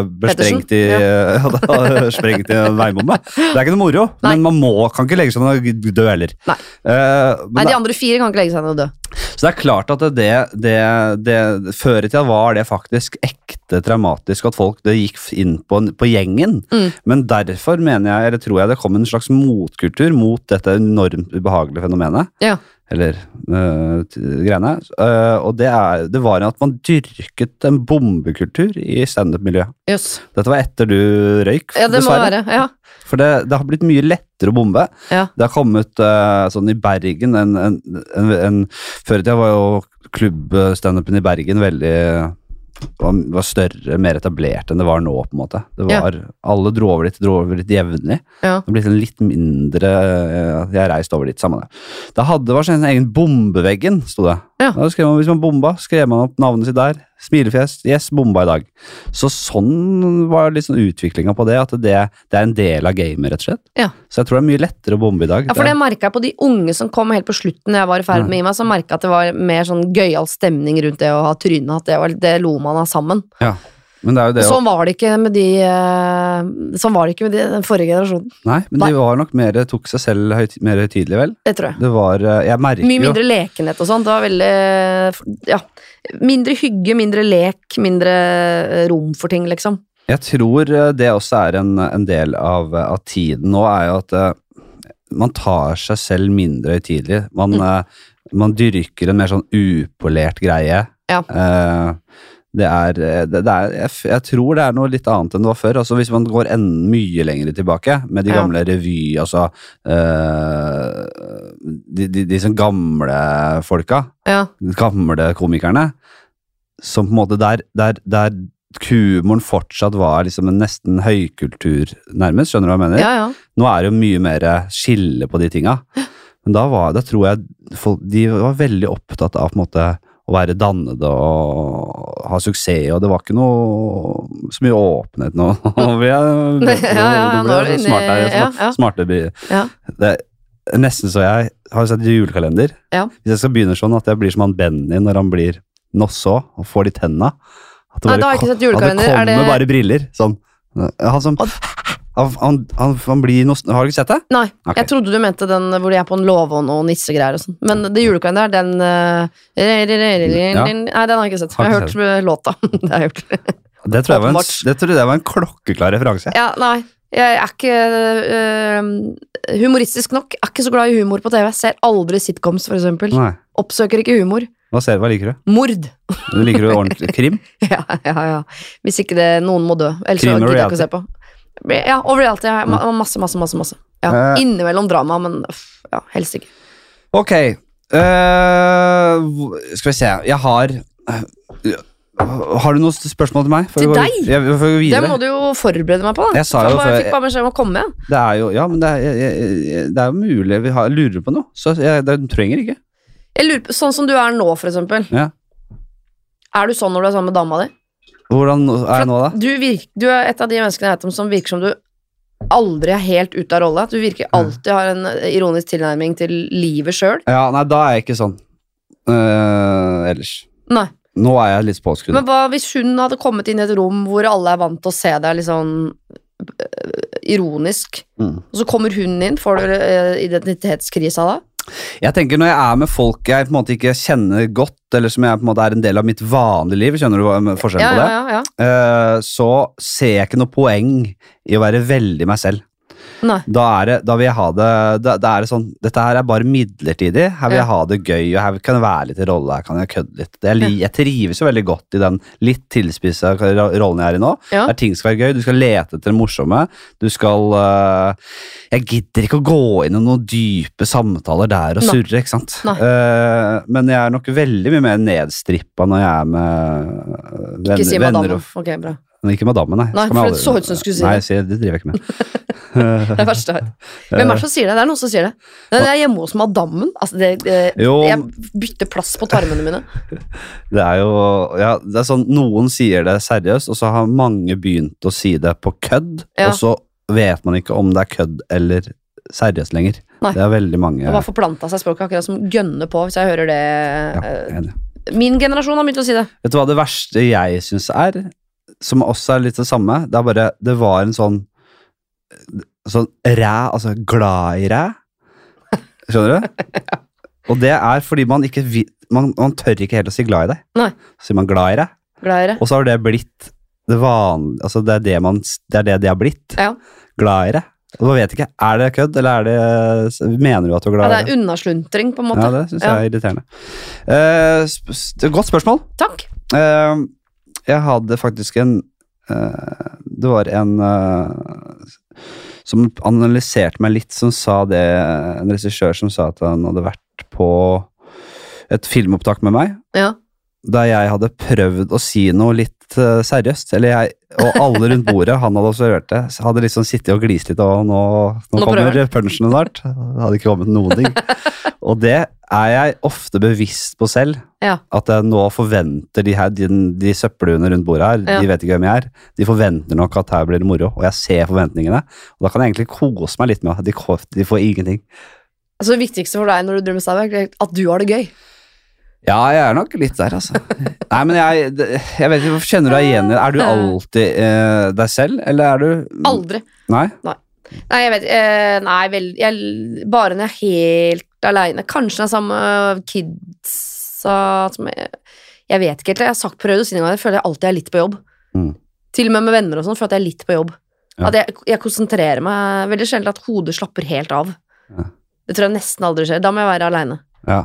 ble Pettersen? sprengt i, sprengt i en veibomme. Det er ikke noe moro, Nei. men man må, kan ikke legge seg ned og dø heller. Nei. Eh, men Nei, det- de andre fire kan ikke legge seg ned og dø. så Så det er klart at det, det, det, det Før i tida var det faktisk ekte traumatisk at folk det gikk inn på, på gjengen. Mm. Men derfor mener jeg, eller tror jeg det kom en slags motkultur mot dette enormt ubehagelige fenomenet. Ja. Eller øh, t- greiene. Øh, og det, er, det var at man dyrket en bombekultur i standup-miljøet. Jøss. Dette var etter du røyk, Ja, det må være. Ja. For det, det har blitt mye lettere å bombe. Ja. Det har kommet eh, sånn i Bergen en, en, en, en Før i tida var jo klubbstandupen i Bergen veldig var, var større, mer etablert enn det var nå, på en måte. Det Ja. var, Alle dro over dit, dro over dit jevnlig. Ja. Det har blitt en litt mindre eh, Jeg reiste over dit, samme det. Da hadde det var sånn en egen bombeveggen, sto det. Ja. Da skrev man, hvis man bomba, skrev man opp navnet sitt der. Smilefjes. Yes, bomba i dag. Så sånn var liksom utviklinga på det, at det, det er en del av gamet, rett og slett. Ja. Så jeg tror det er mye lettere å bombe i dag. Ja, for det merka jeg på de unge som kom helt på slutten da jeg var i ferd med Ima, så merka jeg at det var mer sånn gøyal stemning rundt det å ha trynehatt. Det, var- det lo man av sammen. ja. Men det er jo det å- Sånn var det ikke med de eh, Sånn var det ikke med de, den forrige generasjonen. Nei, men Nei. de var nok mer, tok seg selv høyt, mer høytidelig, vel. Det tror jeg. Det var eh, Jeg merker Mye jo mindre lekenhet og sånn. Det var veldig Ja. Mindre hygge, mindre lek, mindre eh, rom for ting, liksom. Jeg tror eh, det også er en, en del av, eh, av tiden nå, er jo at eh, man tar seg selv mindre høytidelig. Man, eh, man dyrker en mer sånn upolert greie. Ja. Eh, det er, eh, det, det er jeg, f- jeg tror det er noe litt annet enn det var før. Altså Hvis man går en, mye lenger tilbake med de Ja. gamle revy, altså eh, de, de, de sånn gamle folka Ja. gamle komikerne, som på en måte der, der, der humoren fortsatt var liksom en nesten høykultur, nærmest. Skjønner du hva jeg mener? Ja, ja. Nå er det jo mye mer skille på de tinga. Men da, var, da tror jeg folk, de var veldig opptatt av på en måte å være dannede og ha suksess, og det var ikke noe så mye åpenhet nå. Vi er, Nei, ja, ja, ja, nå nå ble er det du inne i- smart her, ja, ja. smarte by. Ja. Det, er nesten så jeg har jo sett julekalender. Ja. Hvis jeg skal begynne sånn at jeg blir som han Benny når han blir nosså og får de tenna. At det Nei, bare da har jeg ikke kom- sett julekalender. At det Er det- kommer bare briller, sånn. Han som... Og- Han, han, han, han blir noe, Har du ikke sett det? Nei, Ok. jeg trodde du mente den hvor de er på en låveånd og nissegreier og sånn. Men det julekalenderen, den eh, Ja. Nei, den har jeg ikke sett. Har Jeg har ikke hørt eh, låta. det har jeg gjort. Det tror jeg var en, Åpenbart. det tror jeg var en klokkeklar referanse. Ja, nei. Jeg er ikke eh, humoristisk nok. Jeg er ikke så glad i humor på TV. Jeg ser aldri sitcoms, for eksempel. Nei. Oppsøker ikke humor. Hva, ser, hva liker du? Mord. Du Liker du ordentlig krim? ja, ja, ja. Hvis ikke det, noen må dø. Ellers Krim og gidder jeg ikke å se på. Ja, og reality. ja. Ma- Masse, masse, masse. masse. Ja. Eh. Innimellom drama, men uff, ja, helst ikke. Ok. eh, hvor- skal vi se. Jeg har eh, Har du noen spørsmål til meg? Før Til vi går- deg? Ja, før vi går Det videre. må du jo forberede meg på. da Jeg sa jo bare, før- fikk bare beskjed om å komme. jeg. Det er jo, ja, men det er, jeg, jeg, jeg- det er jo mulig vi har, lurer på noe. Så jeg, det trenger ikke. Jeg lurer på, Sånn som du er nå, for eksempel. Ja. Er du sånn når du er sammen med dama di? Hvordan er jeg nå, da? Du, virk, du er et av de menneskene jeg vet om som virker som du aldri er helt ute av rolle. Du virker alltid har en eh, ironisk tilnærming til livet sjøl. Ja, nei, da er jeg ikke sånn. Eh, ellers. Nei. Nå er jeg litt påskrudd. Men hva hvis hun hadde kommet inn i et rom hvor alle er vant til å se deg litt sånn øh, ironisk, Mm. og så kommer hun inn, får du øh, identitetskrisa da? Jeg tenker Når jeg er med folk jeg på en måte ikke kjenner godt, eller som jeg på en måte er en del av mitt vanlige liv, skjønner du hva- forskjellen Ja, på det? ja, ja, ja. Eh, så ser jeg ikke noe poeng i å være veldig meg selv. Nei. Da, er det, da vil jeg ha det da, da er det sånn Dette her er bare midlertidig. Her vil Ja. jeg ha det gøy, og her kan jeg være litt i rolle, her kan jeg kødde litt. Jeg, li- jeg trives jo veldig godt i den litt tilspissa ro- rollen jeg er i nå. Ja. Der ting skal være gøy. Du skal lete etter det morsomme. Du skal eh, Jeg gidder ikke å gå inn i noen dype samtaler der og Nei. surre, ikke sant. Nei. Eh, men jeg er nok veldig mye mer nedstrippa når jeg er med eh, venner, Ikke si venner madammen. og Ok, bra. men Ikke madammen, nei. Nei, Skal man for det så ut som du skulle si Nei, jeg det. sier- det driver jeg ikke med. Det er verste her. Hvem er det som sier det? Det er noen som sier det. Det er hjemme hos madammen. Altså, det, det, Jo, jeg bytter plass på tarmene mine. det er jo ja, det er sånn, Noen sier det seriøst, og så har mange begynt å si det på kødd, Ja. og så vet man ikke om det er kødd eller seriøst lenger. Nei. Det er veldig mange Det bare forplanta seg språket akkurat som gønner på, hvis jeg hører det. ja, jeg eh, er enig. Min generasjon har begynt å si det. Vet du hva det verste jeg syns er? Som også er litt det samme. Det er bare Det var en sånn Sånn ræ, altså glad i ræ. Skjønner du? Og det er fordi man ikke vi- man, man tør ikke helt å si glad i deg. Nei. Så sier man glad i deg, Glad i det. og så har det blitt det vanlige altså det, er det, man, det er det det har blitt. Ja. Glad i deg. Og man vet ikke, Er det kødd, eller er det, mener du at du er Ja, glad det i er det? unnasluntring, på en måte. Ja, det syns jeg er irriterende. Eh, sp- s- det er et godt spørsmål. Takk. Eh, jeg hadde faktisk en eh, Det var en eh, som analyserte meg litt, som sa det En regissør som sa at han hadde vært på et filmopptak med meg, Ja. der jeg hadde prøvd å si noe litt eh, seriøst. Eller jeg, og alle rundt bordet, han hadde observert det, så hadde liksom sittet og glist litt. Og nå, nå, Nå kommer prøver punchene snart. Det hadde ikke kommet noen ting. og det er jeg ofte bevisst på selv. Ja. At jeg nå forventer de her, de, de søppelhuene rundt bordet her, Ja. de vet ikke hvem jeg er. De forventer nok at her blir det moro, og jeg ser forventningene. Og da kan jeg egentlig kose meg litt med at de, ko- de får ingenting. Altså, det viktigste for deg når du driver med standup, er at du har det gøy. Ja, jeg er nok litt der, altså. Nei, men jeg, jeg vet ikke, Kjenner du deg igjen i det? Er du alltid eh, deg selv, eller er du Aldri. Nei? Nei, jeg vet eh, Nei, vel jeg, Bare når jeg er helt aleine. Kanskje det er samme kidsa som jeg, jeg vet ikke helt. Jeg har sagt prøvd å si noen ganger, jeg føler jeg alltid er litt på jobb. Mm. Til og med med venner og sånn, føler jeg at jeg er litt på jobb. Ja. At jeg, jeg konsentrerer meg veldig sjelden at hodet slapper helt av. Ja. Det tror jeg nesten aldri skjer. Da må jeg være aleine. Ja.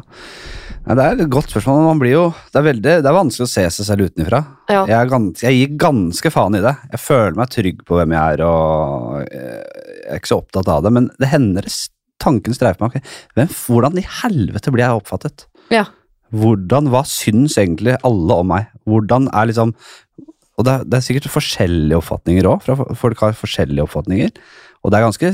Nei, det er et godt spørsmål. men Man blir jo, det, er veldig, det er vanskelig å se seg selv utenfra. Ja. Jeg, er gans, jeg gir ganske faen i det. Jeg føler meg trygg på hvem jeg er, og eh, jeg er ikke så opptatt av det. Men det hender det s- tanken streifer meg. ok, Hvem, hvordan i helvete blir jeg oppfattet? Ja. Hvordan, Hva syns egentlig alle om meg? Hvordan er liksom Og det er, det er sikkert forskjellige oppfatninger òg, for folk har forskjellige oppfatninger. Og det er ganske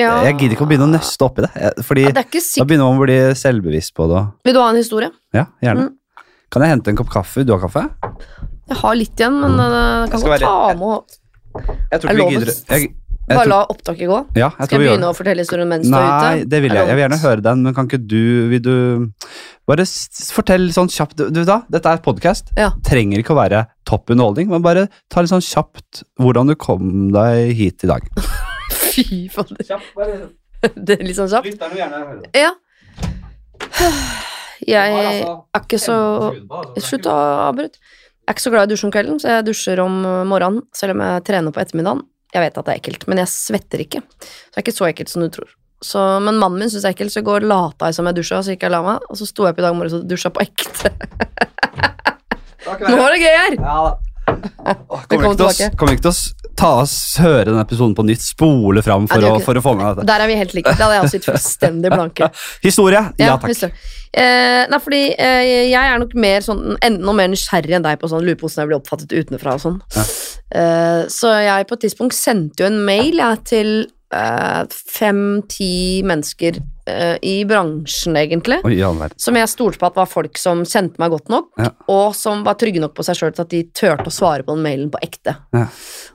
Jeg gidder ikke å begynne å nøste oppi det, jeg- fordi Ja, det er ikke da sikkert. begynner man å bli selvbevisst på det. og- Vil du ha en historie? Ja, gjerne. Mm. Kan jeg hente en kopp kaffe? Du har kaffe? Jeg har litt igjen, men eh, Mm. Jeg kan skal godt være- ta med Jeg Er ikke vi loven gidder s- jeg, jeg, Bare tror, la opptaket gå. ja, jeg tror Skal vi jeg gjør begynne å fortelle historien mens du er Nei, ute? det vil Er jeg. Jeg vil gjerne lovt? høre den, men kan ikke du Vil du Bare s- fortell sånn kjapt Du vet da, dette er podkast. Ja. Trenger ikke å være topp underholdning, men bare ta litt sånn kjapt hvordan du kom deg hit i dag. Fy fader. Det er litt sånn kjapt. Ja. Jeg altså er altså- ikke så Slutt å avbryte. Jeg er ikke så glad i å dusje om kvelden, så jeg dusjer om morgenen, selv om jeg trener på ettermiddagen. Jeg vet at det er ekkelt, men jeg svetter ikke. Så det er ikke så ekkelt som du tror. Så, men mannen min syns det er ekkelt, så i går lata jeg som jeg dusja, så gikk jeg og la meg, og så sto jeg opp i dag morges og dusja på ekte. Nå var det gøy her! Ja da. Det Kommer kom ikke til oss, tilbake. kommer ikke til oss ta oss, høre den episoden på nytt, spole fram for, Nei, det gjør å, ikke for å få med dette. Der er vi helt like. Da hadde jeg også gitt fullstendig blanke. Historie? Ja, takk. visst det. Eh, nei, fordi eh, jeg er nok mer sånn enda mer nysgjerrig enn deg på sånn lurer på hvordan jeg blir oppfattet utenfra og sånn. Ja. Eh, så jeg på et tidspunkt sendte jo en mail jeg, til eh, fem-ti mennesker eh, i bransjen, egentlig. Oi, i all verden. Som jeg stolte på at var folk som kjente meg godt nok, Ja. og som var trygge nok på seg sjøl til at de turte å svare på den mailen på ekte. Ja.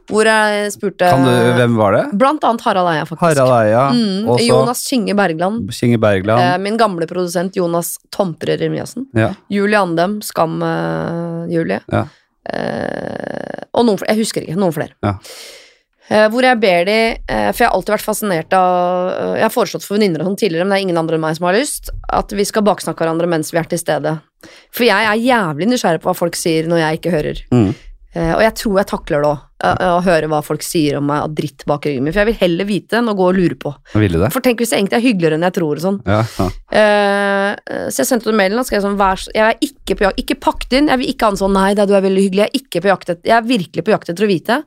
Hvor jeg spurte Kan du, hvem var det? Blant annet Harald Eia, faktisk. Harald Eia, Mm, og så Jonas Kinge Bergland. Kinge Eh, Bergland. min gamle produsent Jonas Tomperer Remiassen. ja. Julie Andem, Skam eh, Julie. Ja. Eh, og noen flere. Jeg husker ikke. Noen flere. Ja. Eh, hvor jeg ber de eh, For jeg har alltid vært fascinert av eh, Jeg har foreslått for venninner og sånn tidligere, men det er ingen andre enn meg som har lyst, at vi skal baksnakke hverandre mens vi er til stede. For jeg er jævlig nysgjerrig på hva folk sier når jeg ikke hører. Mm. Eh, og jeg tror jeg takler det òg. Å høre hva folk sier om meg av dritt bak ryggen min. For jeg vil heller vite enn å gå og lure på. Ville det? For tenk hvis jeg egentlig er hyggeligere enn jeg tror. og Sånn. Ja. ja. Eh, så jeg sendte ut en mail og skrev sånn vær, så- Jeg er ikke på jakt Ikke pakk det inn. Jeg vil ikke ha en sånn Nei da, du er veldig hyggelig. Jeg er, ikke på jakt etter, jeg er virkelig på jakt etter å vite.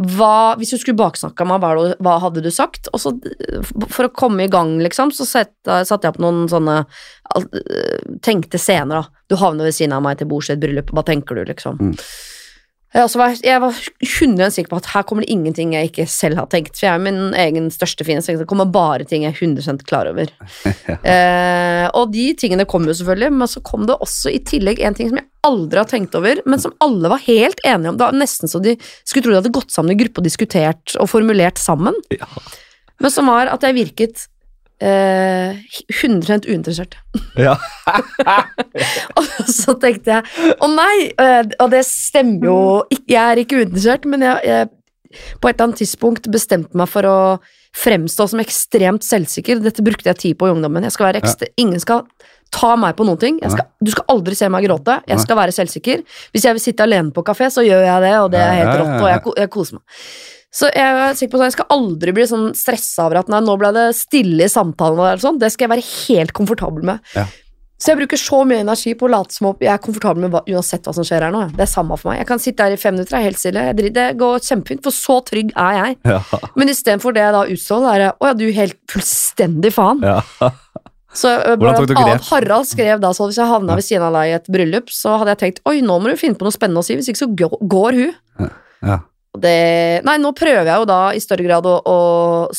Hva, hvis du skulle baksnakka meg, hva, er det- hva hadde du sagt? Og så, eh, for å komme i gang, liksom, så satte satte jeg opp noen sånne al- eh, Tenkte scener, da. Du havner ved siden av meg til bords i et bryllup. Hva tenker du, liksom? Mm. Ja, så var jeg, jeg var 100 sikker på at her kommer det ingenting jeg ikke selv har tenkt. For jeg er min egen største fiende. så Det kommer bare ting jeg er 100 klar over. Eh, og de tingene kom jo selvfølgelig, men så kom det også i tillegg en ting som jeg aldri har tenkt over, men som alle var helt enige om. Det var nesten så de skulle tro de hadde gått sammen i gruppe og diskutert og formulert sammen. Ja. Men som var at jeg virket eh, 100 uinteressert. Ja. Og så tenkte jeg å nei, eh, og det stemmer jo Mm. ikke, jeg er ikke uinteressert, men jeg, jeg på et eller annet tidspunkt bestemte meg for å fremstå som ekstremt selvsikker. Dette brukte jeg tid på i ungdommen. Jeg skal være ekstre, Ingen skal ta meg på noen ting. Jeg skal, du skal aldri se meg gråte. Jeg Nei. skal være selvsikker. Hvis jeg vil sitte alene på kafé, så gjør jeg det, og det er Ja, helt ja, rått, ja, og ja. jeg, ko- jeg koser meg. Så jeg er sikker på at jeg skal aldri bli sånn stressa over at nei, nå ble det stille i samtalen. Eller sånn. Det skal jeg være helt komfortabel med. Ja. Så jeg bruker så mye energi på å late som om jeg er komfortabel med hva, uansett hva som skjer her nå. jeg. Det er samme for meg. Jeg kan sitte her i fem minutter, jeg er helt stille. Jeg driter- det går kjempefint, for så trygg er jeg. Ja. Men istedenfor det jeg da utstråler, er jeg, å ja, du helt fullstendig faen. ja. Så ø, Hvordan tok blant du annet grep? Harald skrev da så hvis jeg havna Ja. ved siden av deg i et bryllup, så hadde jeg tenkt oi, nå må du finne på noe spennende å si, hvis ikke så gå- går hun. ja. Og Det, nei, nå prøver jeg jo da i større grad å, å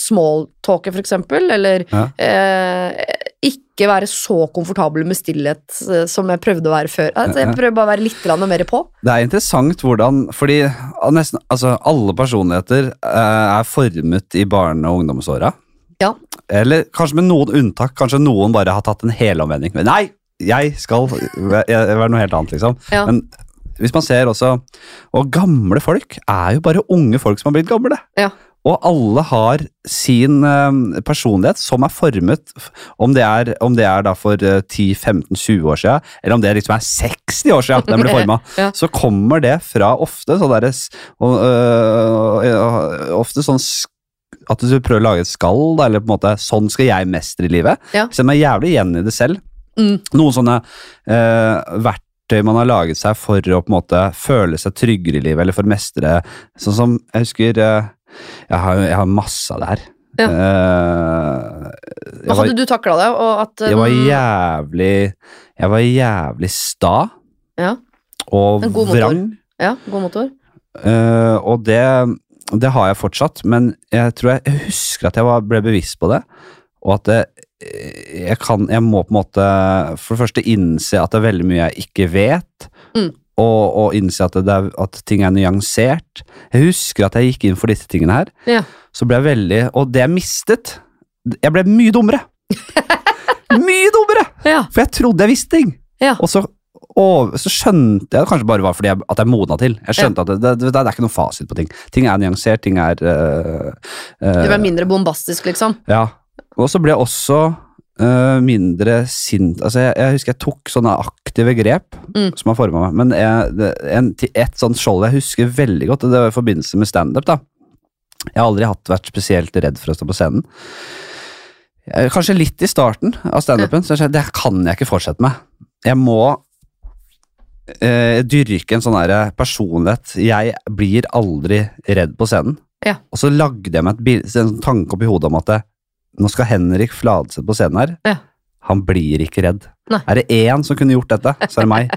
smalltalke, for eksempel, eller Ja. eh, ikke være så komfortabel med stillhet eh, som jeg prøvde å være før. Altså, Ja, jeg ja. prøver bare å være litt grann mer på. Det er interessant hvordan Fordi nesten altså, alle personligheter eh, er formet i barne- og ungdomsåra. Ja. Eller kanskje med noen unntak. Kanskje noen bare har tatt en helomvending. Men nei, jeg skal være være noe helt annet, liksom. Ja. Men hvis man ser også Og gamle folk er jo bare unge folk som har blitt gamle. Ja. Og alle har sin eh, personlighet som er formet, f- om det er, om det er da for eh, 10-15-20 år siden, eller om det liksom er 60 år siden den ble forma, Ja. så kommer det fra ofte sånn derre s- og, øh, øh, Ofte sånn sk- at du prøver å lage et skall, da, eller på en måte 'sånn skal jeg mestre livet'. Ja. Kjenn meg jævlig igjen i det selv. Mm. Noen sånne eh, verktøy man har laget seg for å på en måte føle seg tryggere i livet, eller for å mestre Sånn som jeg husker eh, jeg, har, jeg har masse av det her. Ja. Eh, jeg Men var- hadde du takla det? Og at, jeg var mm, jævlig Jeg var jævlig sta Ja. og En god motor. vrang. ja, god motor. Eh, og det, det har jeg fortsatt, men jeg tror jeg, jeg husker at jeg var, ble bevisst på det. Og at det, eh, jeg kan Jeg må på en måte for det første innse at det er veldig mye jeg ikke vet. Mm. Og, og innse at, det er, at ting er nyansert. Jeg husker at jeg gikk inn for disse tingene her Ja. så ble jeg veldig Og det jeg mistet Jeg ble mye dummere. mye dummere! Ja. For jeg trodde jeg visste ting. Ja. Og så, og, så skjønte jeg det kanskje bare var fordi jeg, at jeg modna til. Jeg skjønte at det, det, det er ikke noen fasit på ting. Ting er nyansert, ting er øh, øh, Du ble mindre bombastisk, liksom. ja. Og så ble jeg også øh, mindre sint. Altså, jeg, jeg husker jeg tok sånne aktive grep Mm. som har forma meg. Men jeg, det, en, til et sånt skjold jeg husker veldig godt, og det var i forbindelse med standup. da. Jeg har aldri hatt, vært spesielt redd for å stå på scenen. Eh, Kanskje litt i starten av standupen. så jeg skjønte, Det kan jeg ikke fortsette med. Jeg må eh, dyrke en sånn derre personlighet. Jeg blir aldri redd på scenen. Ja. Og så lagde jeg meg et bil- en sånn tanke opp i hodet om at det, nå skal Henrik Fladseth på scenen her. Ja. Han blir ikke redd. Nei. Er det én som kunne gjort dette, så er det meg.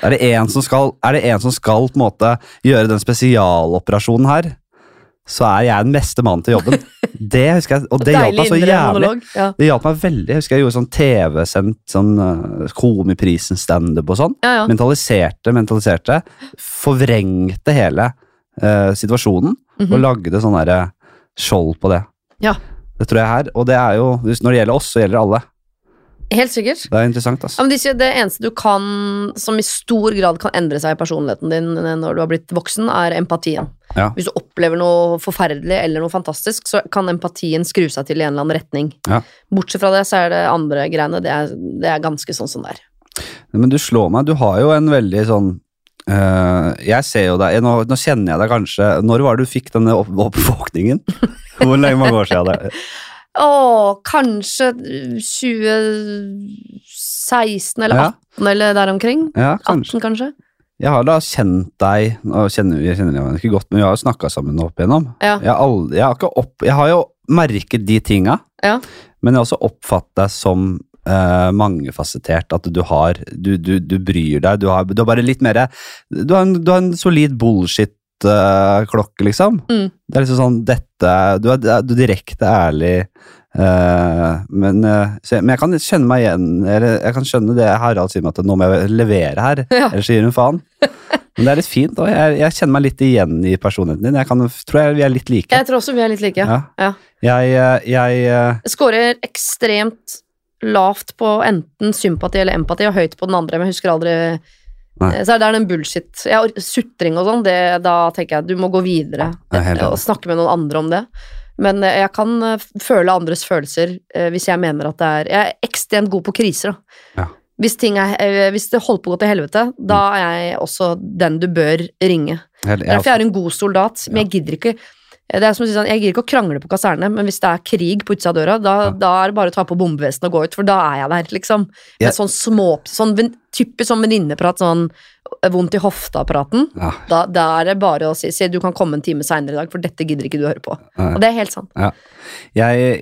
er, det én som skal, er det en som skal på en måte gjøre den spesialoperasjonen her, så er jeg den beste mannen til jobben. Det husker jeg, og det hjalp meg så indre jævlig. monolog. Ja. Det hjalp meg veldig. Jeg husker jeg gjorde sånn TV-sendt sånn eh, Komiprisen standup og sånn. Ja, ja. Mentaliserte, mentaliserte. Forvrengte hele eh, situasjonen og Mhm. lagde sånn derre skjold på det. Ja. Det tror jeg er her, og det er jo hvis- Når det gjelder oss, så gjelder det alle. Helt sikkert. Det er interessant, ass. Ja, men de sier Det eneste du kan, som i stor grad kan endre seg i personligheten din når du har blitt voksen, er empatien. Ja. Hvis du opplever noe forferdelig eller noe fantastisk, så kan empatien skru seg til i en eller annen retning. Ja. Bortsett fra det, så er det andre greiene. Det er, det er ganske sånn som det er. Men du slår meg. Du har jo en veldig sånn eh, Jeg ser jo deg nå, nå kjenner jeg deg kanskje Når var det du fikk denne opp oppvåkningen? Hvor lenge mange år siden er det? Å, kanskje 2016 eller Ja. 18 eller der omkring. Ja, kanskje. 18, kanskje. Jeg har da kjent deg Nå kjenner vi jeg kjenner deg ikke godt, men vi har jo snakka sammen opp igjennom. Ja. Jeg, har aldri, jeg, har ikke opp, jeg har jo merket de tinga, Ja. men jeg har også oppfattet deg som eh, mangefasettert. At du har Du, du, du bryr deg. Du har, du har bare litt mer Du har en, du har en solid bullshit-klokke, liksom. Mm. Det er liksom sånn dette Du er, du er direkte ærlig. eh, men, eh, så, jeg- men jeg kan kjenne meg igjen Eller jeg kan skjønne det Harald sier meg at nå må jeg levere her, Ja. ellers gir hun faen. Men det er litt fint, og jeg, jeg kjenner meg litt igjen i personligheten din. Jeg kan, tror jeg vi er litt like. Jeg tror også vi er litt like. Ja. Ja. Jeg, eh, jeg eh, Jeg scorer ekstremt lavt på enten sympati eller empati, og høyt på den andre, men jeg husker aldri Eh, Nei. Så er det den bullshit. Jeg, or- sutring og sånn, det- da tenker jeg at du må gå videre Jeg er helt enig. og snakke med noen andre om det. Men eh, jeg kan eh, f- føle andres følelser eh, hvis jeg mener at det er Jeg er ekstremt god på kriser, da. Ja. Hvis, ting er, eh, hvis det holder på å gå til helvete, da er jeg også den du bør ringe. Jeg, Det er Derfor jeg jeg, er en god soldat, men Ja. jeg gidder ikke det er som å si sånn, Jeg gidder ikke å krangle på kaserne, men hvis det er krig på utsida av døra, da, Ja. da er det bare å ta på bombevesten og gå ut, for da er jeg der, liksom. Med Ja. sånn små, sånn ven- typisk sånn venninneprat, sånn vondt i hofta-praten. ja, Da, da er det bare å si, si du kan komme en time seinere i dag, for dette gidder ikke du å høre på. Nei. Og det er helt sant. jeg,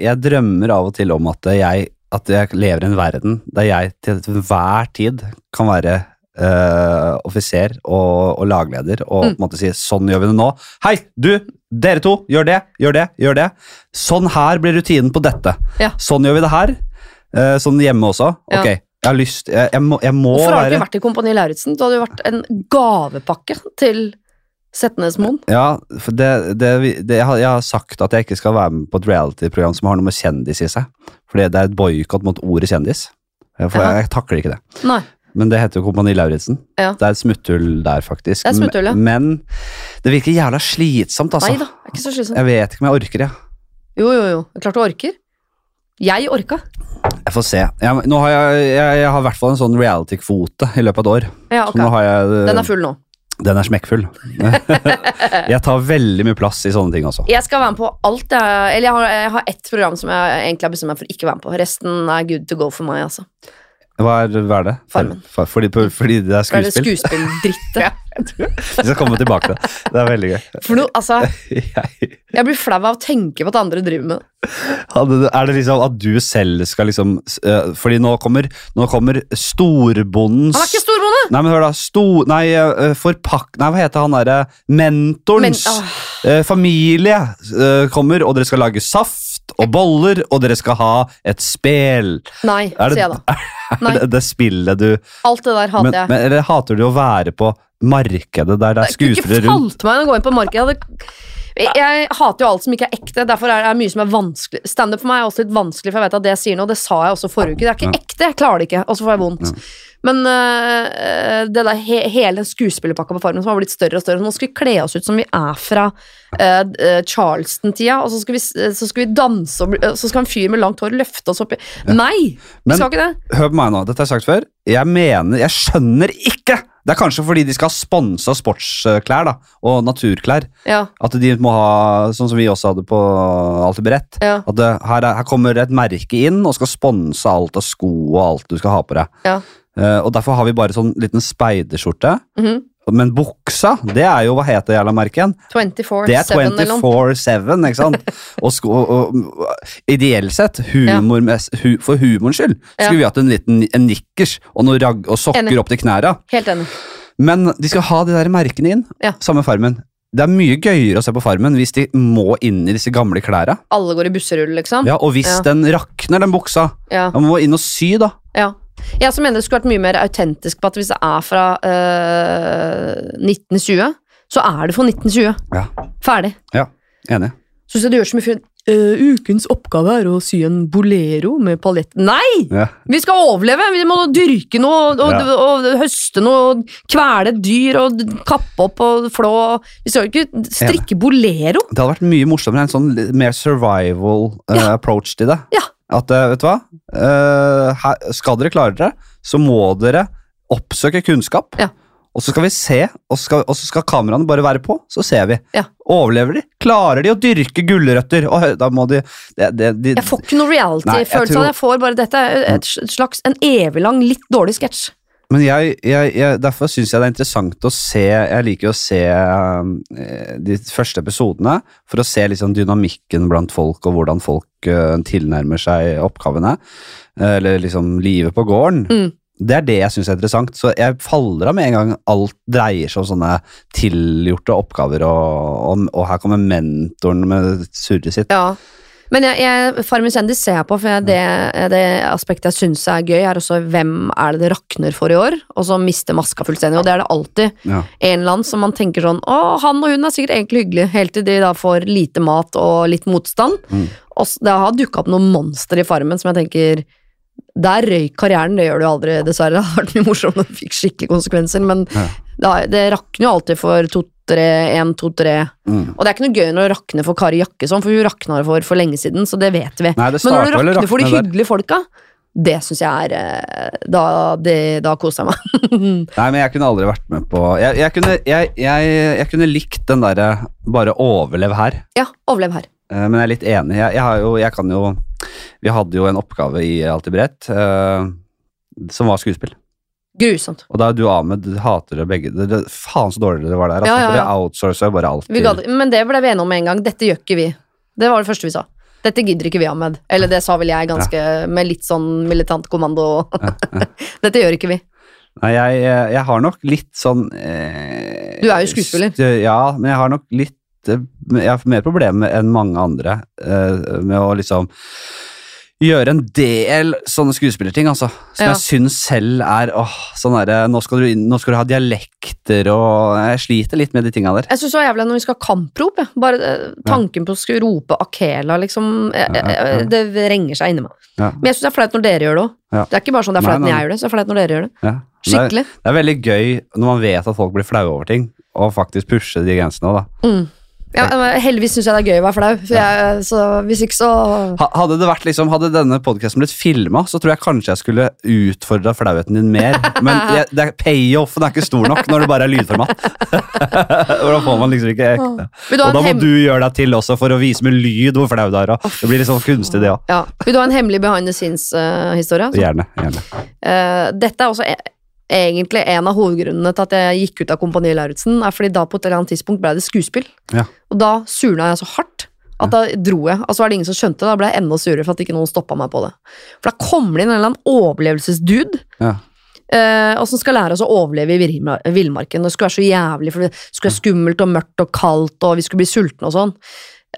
jeg drømmer av og til om at jeg, at jeg lever i en verden der jeg til enhver tid kan være eh, offiser og, og lagleder og på en Mm. måte si sånn gjør vi det nå. Hei, du! Dere to, gjør det, gjør det, gjør det. Sånn her blir rutinen på dette. Ja. Sånn gjør vi det her. Eh, sånn hjemme også. Ja. Ok, jeg har lyst Jeg, jeg må, jeg må Hvorfor har du være ikke vært i Kompani Lauritzen? Du hadde jo vært en gavepakke til Setnesmoen. Ja, for det, det, det, jeg, har, jeg har sagt at jeg ikke skal være med på et reality-program som har noe med kjendis i seg. Fordi det er et boikott mot ordet kjendis. Eh, For Jaha. jeg, jeg takler ikke det. Nei. Men det heter jo Kompani Lauritzen. Ja. Det er et smutthull der, faktisk. Det er smutthull, ja. Men det virker jævla slitsomt, altså. Nei da, det er ikke så slitsomt. Jeg vet ikke om jeg orker, jeg. Jo, jo, jo. Det er Klart du orker. Jeg orka. Jeg får se. Jeg, nå har jeg, jeg, jeg har i hvert fall en sånn reality-kvote i løpet av et år. Ja, Så nå ok. har jeg, Den er full nå. den er smekkfull. jeg tar veldig mye plass i sånne ting også. Jeg skal være med på alt. Jeg, eller jeg har, jeg har ett program som jeg egentlig har bestemt meg for ikke å være med på. Resten er good to go for meg, altså. Hva er, hva er det? Farmen. For, fordi, fordi det er For det er det skuespill? skuespilldrittet. Vi skal komme tilbake til det. Det er veldig gøy. For noe, altså, Jeg, jeg blir flau av å tenke på at andre driver med det. hadde, du- er det liksom at du selv skal liksom s- øh, Fordi nå kommer, nå kommer storbondens Han er ikke storbonde! Nei, men hør da. Sto, nei, øh, forpak... Nei, hva heter han derre Men, Mentorens åh, øh, familie øh, kommer, og dere skal lage saft og boller, og dere skal ha et spel. nei, Er det, sier jeg da. er Nei. det, det spillet du Alt det der men, hater jeg. men, Eller hater du å være på markedet der det er Det kunne ikke skuespillere rundt? falt meg å gå inn på markedet. Jeg, hadde, jeg hater jo alt som ikke er ekte, derfor er det mye som er vanskelig. Standup for meg er også litt vanskelig, for jeg vet at det jeg sier nå, det sa jeg også forrige uke. Det er ikke ekte, jeg klarer det ikke, og så får jeg vondt. Men øh, det der he hele skuespillerpakka på Farmen som har blitt større og større, så nå skal vi kle oss ut som vi er fra øh, øh, Charleston-tida, og så skal, vi, eh, så skal vi danse, og bli, øh, så skal en fyr med langt hår løfte oss opp i Nei! Men- vi skal ikke det. Hør på meg nå, dette har jeg sagt før. Jeg mener, jeg skjønner ikke! Det er kanskje fordi de skal ha sponsa sportsklær da, og naturklær. Ja, At de må ha, sånn som vi også hadde på Alltid beredt. ja, At det, her, er, her kommer et merke inn og skal sponse alt av sko og alt du skal ha på deg. ja. Eh, og derfor har vi bare sånn liten speiderskjorte. Mhm. Men buksa, det er jo Hva het det jævla merket igjen? Det er 24-7 eller noe. 24-7, ikke sant? Og, sko, og, og ideelt sett, humor, hu, for humorens skyld, Ja. skulle vi hatt en liten en nikkers og, noe ragg, og sokker Enig. opp til knæra. Helt enig. Men de skal ha de der merkene inn, Ja. samme farmen. Det er mye gøyere å se på farmen hvis de må inn i disse gamle klæra. Alle går i busserull, liksom. Ja, og hvis Ja. den rakner, den buksa, Ja. da må man inn og sy, da. Ja. Jeg som mener det skulle vært mye mer autentisk på at hvis det er fra eh, 1920, så er det fra 1920. Ja. Ferdig. Enig. Så hvis du gjør så mye fint eh, Ukens oppgave er å sy en bolero med paljett Nei! Ja. Vi skal overleve! Vi må dyrke noe, og, og, Ja. og, høste noe, og kvele et dyr, og kappe opp og flå. Vi skal jo ikke strikke bolero! Det hadde vært mye morsommere, en sånn litt mer survival eh, Ja. approach til det. Ja. At, eh, vet du hva, Eh, her, skal dere klare dere, så må dere oppsøke kunnskap. Ja. Og så skal vi se, og så skal, og så skal kameraene bare være på, så ser vi. Ja. Overlever de? Klarer de å dyrke gulrøtter? Og hø- da må de, det- det- de Jeg får ikke noe Nei, jeg reality-følelse av tror- det. Jeg får bare dette er et slags, en evig lang, litt dårlig sketsj. Men jeg, jeg, jeg, derfor syns jeg det er interessant å se Jeg liker å se eh, de første episodene for å se liksom dynamikken blant folk, og hvordan folk eh, tilnærmer seg oppgavene. eh, Eller liksom livet på gården. Mm. Det er det jeg syns er interessant. Så jeg faller av med en gang alt dreier seg om sånne tilgjorte oppgaver, og, og, og her kommer mentoren med surret sitt. Ja. Men jeg, jeg, Farmen kjendis ser jeg på, for jeg, det, det aspektet jeg syns er gøy, er også hvem er det det rakner for i år, og så mister maska fullstendig. Og det er det alltid. Ja. En eller annen som man tenker sånn Å, han og hun er sikkert egentlig hyggelige, helt til de da får lite mat og litt motstand. Mm. Og s- det har dukka opp noen monster i Farmen som jeg tenker der røyk karrieren, det gjør du aldri, dessverre. Det hadde vært mye morsomt om det fikk skikkelige konsekvenser, men Ja. da, det rakner jo alltid for to-tre, én, to-tre. Mm. Og det er ikke noe gøy når det rakner for Kari Jakkesson, for hun rakna det for for lenge siden, så det vet vi. Nei, det Men når starta det vel å rakner for de rakne der. hyggelige folka, det syns jeg er eh, Da, det, da koser jeg meg. Nei, men jeg kunne aldri vært med på Jeg, jeg, kunne, jeg, jeg, jeg kunne likt den derre bare overlev her. Ja, overlev her. Eh, Men jeg er litt enig. Jeg, jeg, har jo, jeg kan jo Vi hadde jo en oppgave i Alltid beredt eh, som var skuespill. Grusomt. Og da er du Ahmed du hater det begge. Det, det, faen så dårlig dere var der. Altså, Ja, ja, for ja. Det outsourcer jo bare alt. Vi til- gadd- men det ble vi enige om med en gang. Dette gjør ikke vi. Det var det første vi sa. Dette gidder ikke vi, Ahmed. Eller det sa vel jeg ganske med litt sånn militant kommando. Dette gjør ikke vi. Nei, jeg, eh, jeg har nok litt sånn eh, Du er jo skuespiller. st- Ja, men jeg har nok litt eh, Jeg har mer problemer enn mange andre eh, med å liksom gjøre en del sånne skuespillerting, altså. Som Ja. jeg syns selv er åh, sånn derre nå, skal du inn- nå skal du ha dialekter og eh, Jeg sliter litt med de tinga der. Jeg syns det var jævlig når vi skal ha kamprop. jeg. Bare eh, tanken på å skulle rope Akela, liksom. eh, Ja, ja, ja. eh, Det vrenger seg inni meg. Ja. Men jeg syns det er flaut når dere gjør det òg. Ja. Det er ikke bare sånn det er Nei, flaut nei, når nei. jeg gjør det, så er det flaut når dere gjør det. Ja. Men Det, Skikkelig. er, det er veldig gøy når man vet at folk blir flaue over ting, og faktisk pushe de grensene òg, da. Ja, eh, heldigvis syns jeg det er gøy å være flau, for jeg, så hvis ikke, så Ha- Hadde det vært liksom, hadde denne podcasten blitt filmet, så tror jeg kanskje jeg skulle utfordret flauheten din mer. Men jeg, det er payoffen er ikke stor nok når det bare er lydformat. Hvordan får man liksom ikke ekte. Vil du ha Og da en må hem- du gjøre deg til også for å vise med lyd hvor flau du er. Og. Det blir litt sånn kunstig det også. Ja. Vil du ha en hemmelig eh, behind the scenes-historie? Gjerne, gjerne. dette er også e egentlig en av hovedgrunnene til at jeg gikk ut av Kompani Lauritzen, er fordi da på et eller annet tidspunkt ble det skuespill. Ja. Og da surna jeg så hardt at da dro jeg. Altså var det ingen som skjønte det, da ble jeg enda surere for at ikke noen stoppa meg på det. For da kommer det inn en eller annen overlevelsesdude Ja. Eh, og som skal lære oss å overleve i virma- villmarken. Det skulle være så jævlig, for det skulle være skummelt og mørkt og kaldt, og vi skulle bli sultne og sånn.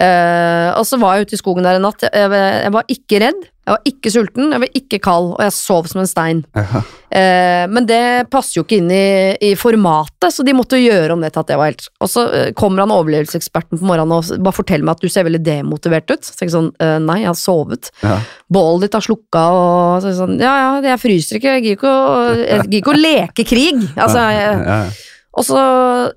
Eh, og så var jeg ute i skogen der en natt. Jeg, jeg var ikke redd, jeg var ikke sulten, jeg var ikke kald, og jeg sov som en stein. Eh, men det passer jo ikke inn i, i formatet, så de måtte jo gjøre om det til at det var helt Og så eh, kommer han overlevelseseksperten på morgenen og s- bare forteller meg at du ser veldig demotivert ut. Så tenker jeg sånn, eh, nei, jeg har sovet Ja. bålet ditt har slukka og så er det sånn Ja, ja, jeg fryser ikke, jeg gidder ikke å, jeg gidder ikke å leke krig. Altså, jeg, Ja. og så,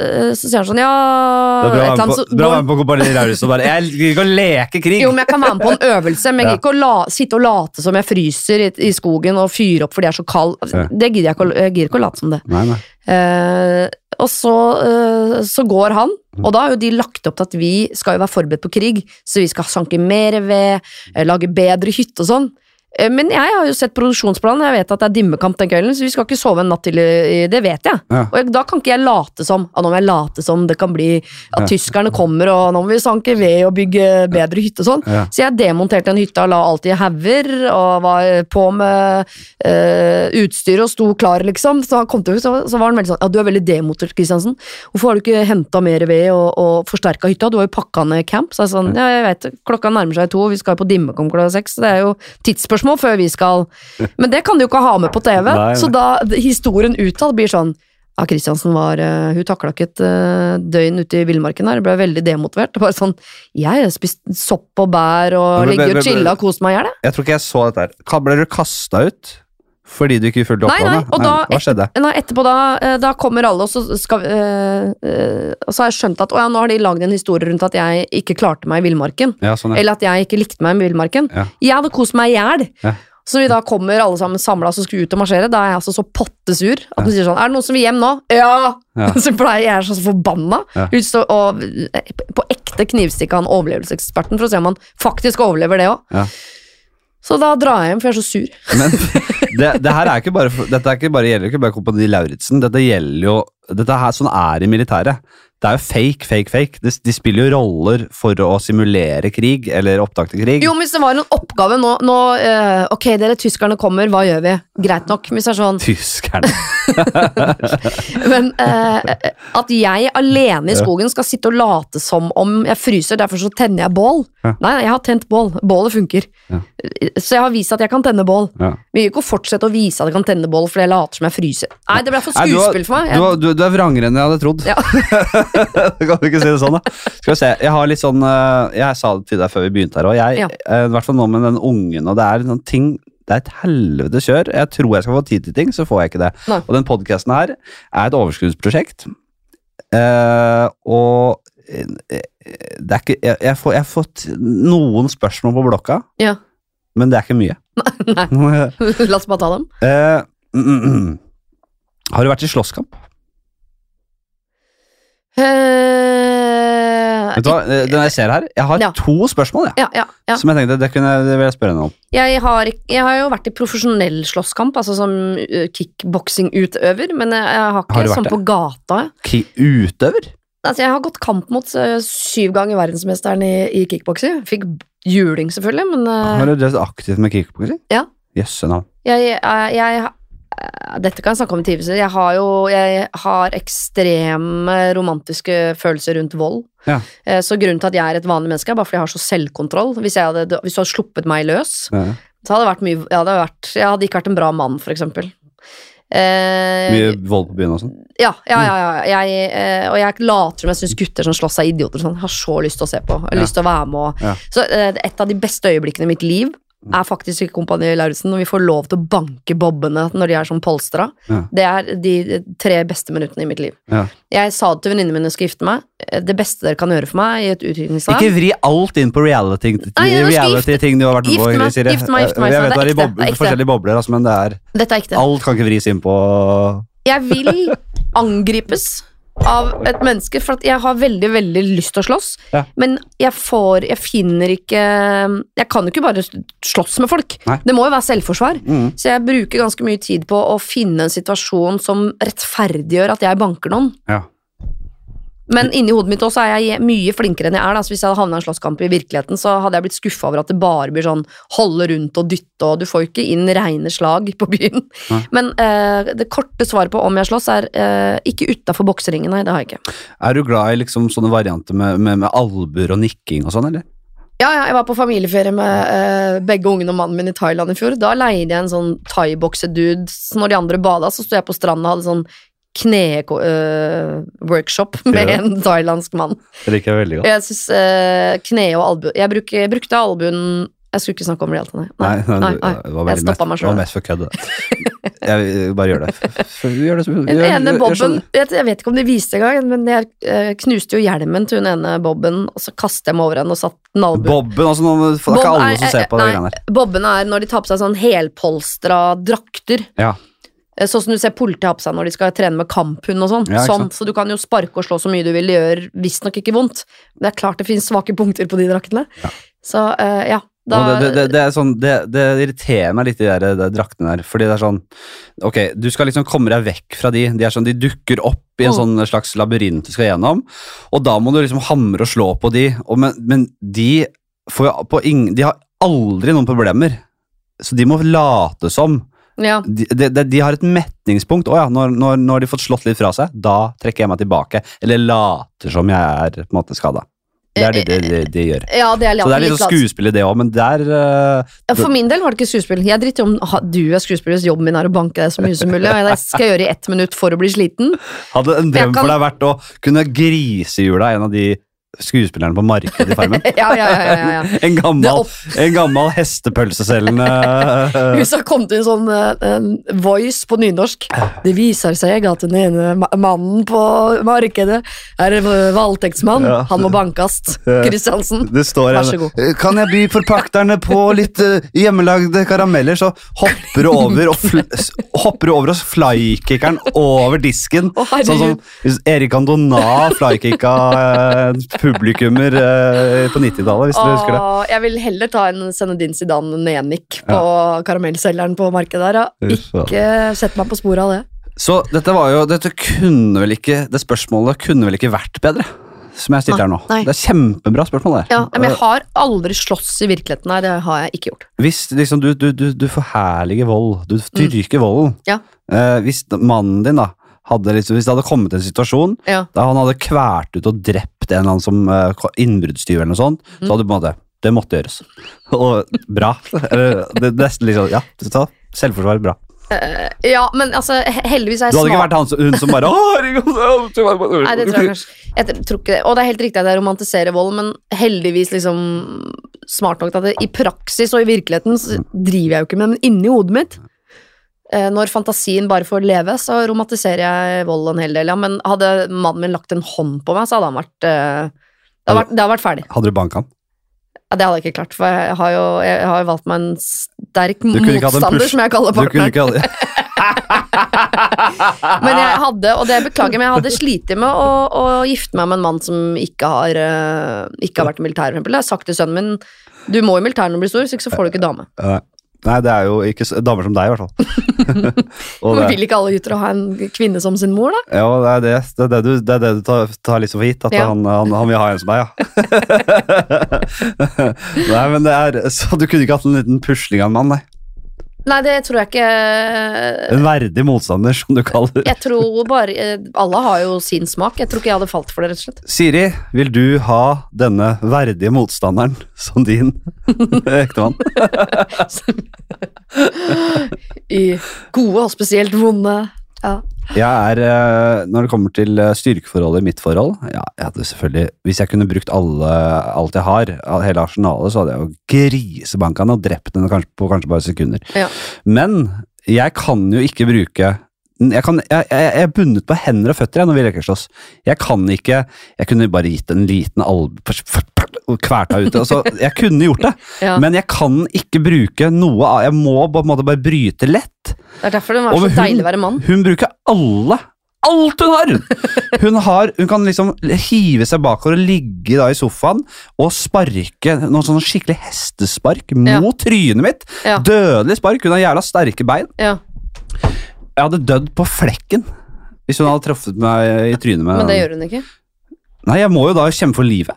eh, så sier han sånn, ja Det er bra å et eller være annet med så- på- bra å være med på Kompani Lauritzen og bare Jeg liker ikke å leke krig! Jo, men jeg kan være med på en øvelse, men jeg Ja. gidder ikke å la, sitte og late som jeg fryser i, i skogen og fyre opp fordi jeg er så kald. Altså, Ja. Det gidder jeg ikke, å- jeg gidder ikke å late som det. Nei, nei. Eh, og så, eh, så går han, og da har jo de lagt opp til at vi skal jo være forberedt på krig, så vi skal sanke mer ved, eh, lage bedre hytte og sånn. Eh, Men jeg har jo sett produksjonsplanen, jeg vet at det er dimmekamp den kvelden, så vi skal ikke sove en natt til, i- i- det vet jeg. Ja. Og jeg, da kan ikke jeg late som, ah, nå må jeg late som det kan bli at tyskerne kommer, og nå må vi sanke ved og bygge bedre hytte og sånn. Ja. Så jeg demonterte en hytte og la alt i hauger, og var på med eh, utstyr og sto klar, liksom. Så, han kom til, så, så var han veldig sånn Ja, du er veldig demotivert, Kristiansen. Hvorfor har du ikke henta mer ved og, og forsterka hytta? Du har jo pakka ned camp. Så jeg sånn Ja, jeg veit det. Klokka nærmer seg to, og vi skal jo på Dimmekom klokka seks. Så det er jo tidsspørsmål før vi skal Men det kan du jo ikke ha med på TV. Nei, nei. Så da historien utad blir sånn ja, Kristiansen var, eh, hun takla ikke et eh, døgn ute i villmarken her, ble veldig demotivert. Det var sånn, Jeg har spist sopp og bær og Men- men- ligget men- og chilla og kost meg i hjel. jeg. Jeg tror ikke jeg så dette her. Ka- Ble du kasta ut fordi du ikke fulgte Nei, nei, oppgaven? og da- Hva skjedde? Nei, Etterpå, da, eh, da kommer alle, og så, skal, vi, eh, eh, og så har jeg skjønt at å ja, nå har de lagd en historie rundt at jeg ikke klarte meg i villmarken. Ja, sånn, ja. Eller at jeg ikke likte meg i villmarken. Ja. Jeg hadde kost meg i hjel. Ja. Så vi da kommer alle sammen samla og skal ut og marsjere. Da er jeg altså så pottesur at hun sier sånn Er det noen som vil hjem nå? Ja! Ja. Så pleier jeg så forbanna. Ja. Ut så- og eh, på ekte knivstikke han overlevelseseksperten for å se om han faktisk overlever det òg. Ja. Så da drar jeg hjem, for jeg er så sur. Men det, det her er ikke bare, for- dette er ikke bare, gjelder ikke bare Kompani Lauritzen. Dette gjelder jo Dette her sånn er i militæret. Det er jo fake, fake, fake. De, de spiller jo roller for å simulere krig, eller opptak til krig. Jo, men hvis det var en oppgave nå, nå eh, Ok, dere tyskerne kommer, hva gjør vi? Greit nok. Men hvis det er sånn Tyskerne. Men eh, at jeg alene i skogen skal sitte og late som om jeg fryser, derfor så tenner jeg bål. Ja. Nei, nei, jeg har tent bål. Bålet funker. Ja. Så jeg har vist at jeg kan tenne bål. Ja. Vi vil ikke fortsette å vise at jeg kan tenne bål fordi jeg later som jeg fryser. Nei, det ble for Nei, du har- skuespill for meg. Du, har- du, du er vrangere enn jeg hadde trodd. Ja. kan du ikke si det sånn, da? Skal vi se. Jeg har litt sånn eh, Jeg sa det til deg før vi begynte her òg. Ja. I hvert fall nå med den ungen, og det er noen ting Det er et helvete kjør. Jeg tror jeg skal få tid til ting, så får jeg ikke det. Nei. Og den podkasten her er et overskuddsprosjekt. Eh, og eh, det er ikke jeg, jeg, får, jeg har fått noen spørsmål på blokka, Ja. men det er ikke mye. Nei. La oss bare ta dem. Eh, mm, mm, mm. Har du vært i slåsskamp? Eh, Vet du hva, eh, den jeg ser her, jeg har Ja. to spørsmål, jeg. ja, ja, ja. Som jeg tenkte, det, kunne, jeg- det vil jeg spørre henne om. Jeg har, ikk- jeg har jo vært i profesjonell slåsskamp, altså som eh, kickboksingutøver, men jeg, jeg har ikke Har du vært sånn det? på gata. Ki utøver? Altså, jeg har gått kamp mot eh, syv ganger verdensmesteren i, i kickboksing. Fikk b- juling, selvfølgelig, men eh, Har du drevet aktivt med kickboxing? Ja. Jøsse navn. jeg, jeg, jeg eh, Dette kan jeg snakke om i timevis. Jeg har jo jeg har ekstreme romantiske følelser rundt vold. Ja. Eh, Så grunnen til at jeg er et vanlig menneske, er bare fordi jeg har så selvkontroll. Hvis, jeg hadde, hvis du hadde sluppet meg løs, Ja. så hadde det vært mye Jeg hadde, vært, jeg hadde ikke vært en bra mann, for eksempel. Eh, Mye vold på byen og sånn? Ja, ja, ja, Mm. ja. Jeg, eh, og jeg later som jeg syns gutter som slåss er idioter. og Sånn. Jeg har så lyst til å se på. Jeg har Ja. lyst til å være med og. Ja. Så eh, et av de beste øyeblikkene i mitt liv er faktisk i Kompani Lauritzen, når vi får lov til å banke bobbene når de er sånn polstra. Ja. Det er de tre beste minuttene i mitt liv. Ja. Jeg sa det til venninnene mine når jeg skulle gifte meg. eh, Det beste dere kan gjøre for meg i et utviklingsland Ikke vri alt inn på reality-ting Nei, jeg skal reality ting du har vært med på. Gifte meg, Siri. gifte meg, gifte meg, Jeg vet sånn, det er, i det er ekte, bob- det er ekte. forskjellige bobler, altså, men det er, Dette er ekte. alt kan ikke vris inn på Jeg vil angripes av et menneske, for at jeg har veldig, veldig lyst til å slåss. Ja. Men jeg får Jeg finner ikke Jeg kan jo ikke bare slåss med folk. Nei. Det må jo være selvforsvar. mm. Så jeg bruker ganske mye tid på å finne en situasjon som rettferdiggjør at jeg banker noen. Ja. Men inni hodet mitt også er jeg mye flinkere enn jeg er. Da. Så hvis jeg hadde havna i en slåsskamp i virkeligheten, så hadde jeg blitt skuffa over at det bare blir sånn holde rundt og dytte, og du får jo ikke inn reine slag på byen. Nei. Men eh, det korte svaret på om jeg slåss, er eh, ikke utafor bokseringen. Nei, det har jeg ikke. Er du glad i liksom sånne varianter med, med, med albuer og nikking og sånn, eller? Ja, ja, jeg var på familieferie med eh, begge ungene og mannen min i Thailand i fjor. Da leide jeg en sånn thaiboksedude. Så Når de andre bada, så sto jeg på stranda og hadde sånn kne-workshop med Ja. en thailandsk mann. Det liker jeg veldig Jeg syns eh, kne og albu Jeg, bruk, jeg brukte albuen Jeg skulle ikke snakke om reality, nei. Nei, nei, nei, du- nei. det var Jeg veldig stoppa mest- meg Det var selv. mest for kødd. det. Jeg vil bare gjør det. F- Gjør det som Den gjør- ene gjør- gjør bobben sånn. jeg, jeg vet ikke om de viste det engang, men jeg eh, knuste jo hjelmen til hun ene bobben, og så kastet jeg meg over henne og satt den albuen. Bobben, altså nå- for Det er ikke Bob- alle nei, som ser på det nei, greiene der. Bobbene er når de tar på seg sånn helpolstra drakter. Ja. Eh, Sånn som du ser politiet ha på seg når de skal trene med kamphund og sånn. Ja, ikke sånn. Så du kan jo sparke og slå så mye du vil, det gjør visstnok ikke vondt. Det er klart det finnes svake punkter på de draktene. Ja. Så eh, ja, da Og det, det, det, det, er sånn, det, det irriterer meg litt, de der de draktene der. Fordi det er sånn Ok, du skal liksom komme deg vekk fra de. De, er sånn, de dukker opp i en Mm. sånn slags labyrint du skal gjennom, og da må du liksom hamre og slå på de. Og, men, men de får jo på ingen De har aldri noen problemer. Så de må late som. ja. De, de, de, de har et metningspunkt. Å ja, når, når, når de har fått slått litt fra seg, da trekker jeg meg tilbake. Eller later som jeg er på en måte skada. Det er det de, de, de gjør. Ja, eh, det er, Så det er litt litt sånn lat. skuespill i det òg, men der eh, Ja, For min del var det ikke skuespill. Jeg driter om ha, du er skuespiller, hvis jobben min er å banke deg så mye som mulig. Og det skal jeg gjøre i ett minutt for å bli sliten. Hadde en Jeg drøm kan- for deg vært å kunne grisehjula en av de skuespillerne på markedet i Farmen? Ja, ja, ja, ja, ja. En Det gammel, opp, en gammel hestepølseselgende Hvis det kom til en sånn eh, en voice på nynorsk Det viser seg at den ene ma- mannen på markedet er en eh, voldtektsmann. Ja. Han må bankast. Ja. Kristiansen. Det står Eh, Vær så god. Kan jeg by forpakterne på litt eh, hjemmelagde karameller, så hopper du over og fl s- hopper du over og flykickeren over disken. Å, herregud. sånn som hvis Erik Andona flykicka eh, publikummer eh, på 90-tallet, hvis dere husker det. Åh, jeg vil heller ta en Senedin Zidane Nenik på karamellselgeren på markedet der. ja. Fy faen. Ikke sett meg på sporet av det. Så dette var jo Dette kunne vel ikke Det spørsmålet kunne vel ikke vært bedre? Som jeg stilte her nå. Nei. Det er kjempebra spørsmål, det. Ja, men jeg har aldri slåss i virkeligheten. Nei, det har jeg ikke gjort. Hvis liksom du, du, du, du forherliger vold, du dyrker volden Mm. Ja. eh, Hvis mannen din, da hadde liksom, Hvis det hadde kommet til en situasjon Ja. da han hadde kvert ut og drept en eller annen som eh, ko- innbruddstyver eller noe sånt, Mm. så hadde du på en måte Det sånn, måtte gjøres. Og bra. Eller, det, er nesten liksom Ja, så, selvforsvar, bra. Ja, men altså, he- heldigvis er jeg Du hadde ikke smart. vært han, som- hun som bare «Å, herregud, Nei, det tror jeg kanskje Jeg tror ikke det. Og det er helt riktig at jeg romantiserer vold, men heldigvis liksom smart nok til at det, i praksis og i virkeligheten så driver jeg jo ikke med det, men inni hodet mitt eh, Når fantasien bare får leve, så romantiserer jeg vold en hel del, ja. Men hadde mannen min lagt en hånd på meg, så hadde han vært eh, Det hadde vært, det hadde vært ferdig. Hadde du banka han? Ja, det hadde jeg ikke klart, for jeg har jo, jeg har jo valgt meg en sterk kunne ikke hatt en motstander, push- som jeg kaller Du kunne partneren. ikke hadde... Men Ah. jeg hadde, og det beklager, men jeg hadde slitt med å, å gifte meg med en mann som ikke har, eh, ikke har vært i militæret, for eksempel. Jeg har sagt til sønnen min du må i militæret når du blir stor, så ikke så får du ikke dame. Nei. Nei, det er jo ikke s- damer som deg, i hvert fall. og Men det, vil ikke alle gutter ha en kvinne som sin mor, da? ja, det er det, det, er det du, det er det du tar, tar liksom for gitt, at Ja. han, han, han vil ha en som deg, ja. nei, men det er Så du kunne ikke hatt en liten pusling av en mann, nei. Nei, det tror jeg ikke. En verdig motstander, som du kaller det. Jeg tror bare eh, Alle har jo sin smak. Jeg tror ikke jeg hadde falt for det, rett og slett. Siri, vil du ha denne verdige motstanderen som din ektemann? I gode og spesielt vonde. Ja. Jeg er, eh, når det kommer til eh, styrkeforholdet i mitt forhold ja, jeg hadde selvfølgelig, Hvis jeg kunne brukt alle, alt jeg har, av hele arsenalet, så hadde jeg jo grisebanka den og drept den kanskje, på kanskje bare sekunder. Ja. Men jeg kan jo ikke bruke jeg, kan, jeg, jeg, jeg er bundet på hender og føtter jeg, når vi leker slåss. Jeg kan ikke Jeg kunne bare gitt en liten albu og kverta ut. Altså, jeg kunne gjort det, Ja. men jeg kan ikke bruke noe av Jeg må på en måte bare bryte lett. Det er derfor det var Og så hun- deilig å være mann. Hun bruker alle. Alt hun har! Hun, har, hun kan liksom hive seg bakover og ligge da i sofaen og sparke noen sånn skikkelig hestespark mot Ja. trynet mitt. Ja. Dødelig spark. Hun har jævla sterke bein. Ja. Jeg hadde dødd på flekken hvis hun hadde truffet meg i trynet med Men det gjør hun ikke. Nei, jeg må jo da kjempe for livet.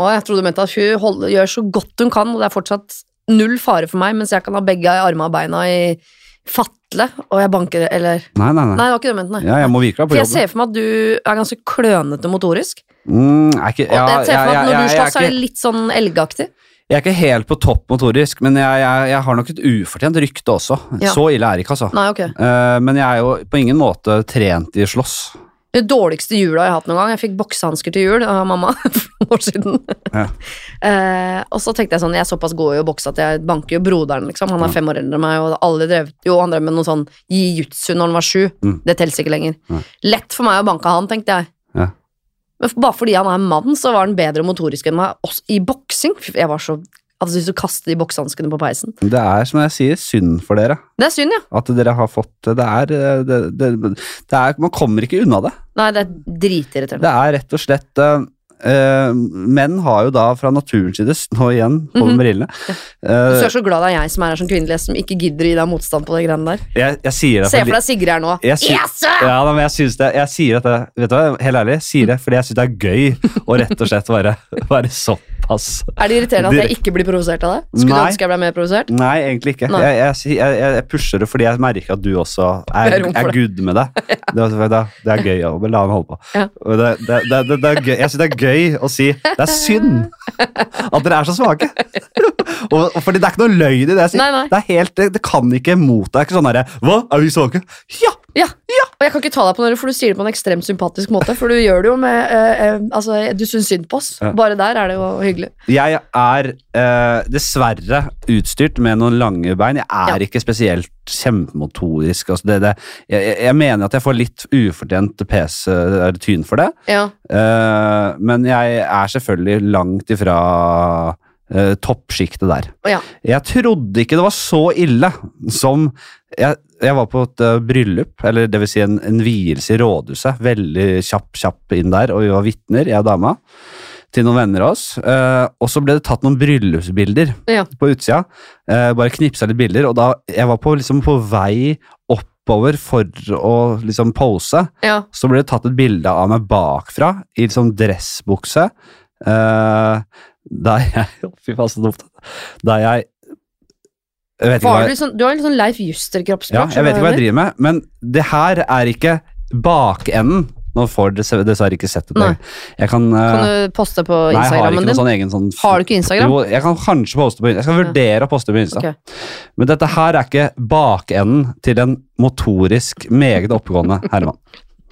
Og jeg trodde du mente at hun hold, gjør så godt hun kan, og det er fortsatt null fare for meg, mens jeg kan ha begge armene og beina i fatle, og jeg banker eller Nei, nei, nei. Nei, det var ikke det du mente, nei. Ja, jeg må virkelig være For på jeg jobb. ser for meg at du er ganske klønete motorisk. Mm, er ikke, Og ja, jeg ser for meg at jeg- jeg- når du jeg er slåss, så ikke- er det litt sånn elgaktig. Jeg er ikke helt på topp motorisk, men jeg, jeg, jeg har nok et ufortjent rykte også. Ja. Så ille er det ikke, altså. Nei, ok. Eh, men jeg er jo på ingen måte trent i slåss. Det dårligste jula jeg har hatt noen gang. Jeg fikk boksehansker til jul av mamma for noen år siden. Ja. Eh, og så tenkte jeg sånn, jeg er såpass god i å bokse at jeg banker jo broderen, liksom. Han er Ja. fem år eldre enn meg, og alle drev, jo, han drev med noe sånn jiu-jitsu når han var sju. Mm. Det telles ikke lenger. Nei. Lett for meg å banke han, tenkte jeg. Ja. Men f- bare fordi han er mann, så var han bedre motorisk enn meg, også i boksing. Fy, Jeg var så altså, jeg hadde så lyst til å kaste de boksehanskene på peisen. Det er, som jeg sier, synd for dere. Det er synd, ja. At dere har fått Det er, eh, det, det, det er Man kommer ikke unna det. Nei, det er dritirriterende. Det er rett og slett eh, eh, Menn har jo da fra naturens side Nå igjen, hold med brillene. Du Eh, er Mhm. så glad det er jeg som er her som kvinnelig, som ikke gidder å gi deg motstand på de greiene der. jeg, jeg sier det Se fordi for deg Sigrid her nå. Jeg sy- Yes! sir! ja, da, men jeg synes det, jeg sier at det, vet du hva, helt ærlig, jeg sier det fordi jeg syns det er gøy å rett og slett være, være såpass Er det irriterende at jeg ikke blir provosert av det? Skulle du Nei. ønske jeg ble mer provosert? Nei, egentlig ikke. Nei. Jeg, jeg, si- jeg, jeg pusher det fordi jeg merker at du også er, Det er rom for er det. good med det. Det, er- det, er- det er gøy å la han holde på. Ja. Og Det, det, det, det, det er gøy. Jeg syns det er gøy å si det er synd at dere er så svake. Og, og fordi det er ikke noe løgn i det jeg sier. Nei, nei. Det, er helt, det, det kan ikke mot deg. Det er ikke sånn derre Hva, er vi svake? Ja! Ja. Og jeg kan ikke ta deg på noe, for du sier det på en ekstremt sympatisk måte. For du gjør det jo med eh, eh, Altså, du syns synd på oss. Ja. Bare der er det jo hyggelig. Jeg er eh, dessverre utstyrt med noen lange bein. Jeg er ikke spesielt kjempemotorisk. Altså det, det, jeg, jeg- jeg mener at jeg får litt ufortjent pes, eh, tyn for det, Ja. Eh, men jeg er selvfølgelig langt ifra uh, toppsjiktet der. Og ja. Jeg trodde ikke det var så ille som Jeg, jeg var på et eh, bryllup, eller det vil si en, en vielse i rådhuset. Veldig kjapp, kjapp inn der, og vi var vitner, jeg og dama, til noen venner av oss. Eh, og så ble det tatt noen bryllupsbilder Ja. på utsida. Eh, bare knipsa litt bilder, og da Jeg var på, liksom, på vei oppover for å liksom pose. ja. Så ble det tatt et bilde av meg bakfra, i liksom dressbukse. eh, der jeg Fy faen, så dumt. Der jeg Jeg vet ikke hva Var jeg, du, sånn, du har litt sånn Leif Juster-kroppsspråk. ja, jeg, vet ikke hva jeg driver med, men det her er ikke bakenden Nå får dere se- dessverre ikke sett det. Nei. Jeg kan, eh, Kan du poste på Nei, jeg har Instagrammen ikke din? noen sånn egen sånn Har du ikke Instagram? Jo, jeg kan kanskje poste på Insta. Jeg skal vurdere å poste på Insta. Ok. Men dette her er ikke bakenden til en motorisk meget oppegående Herman.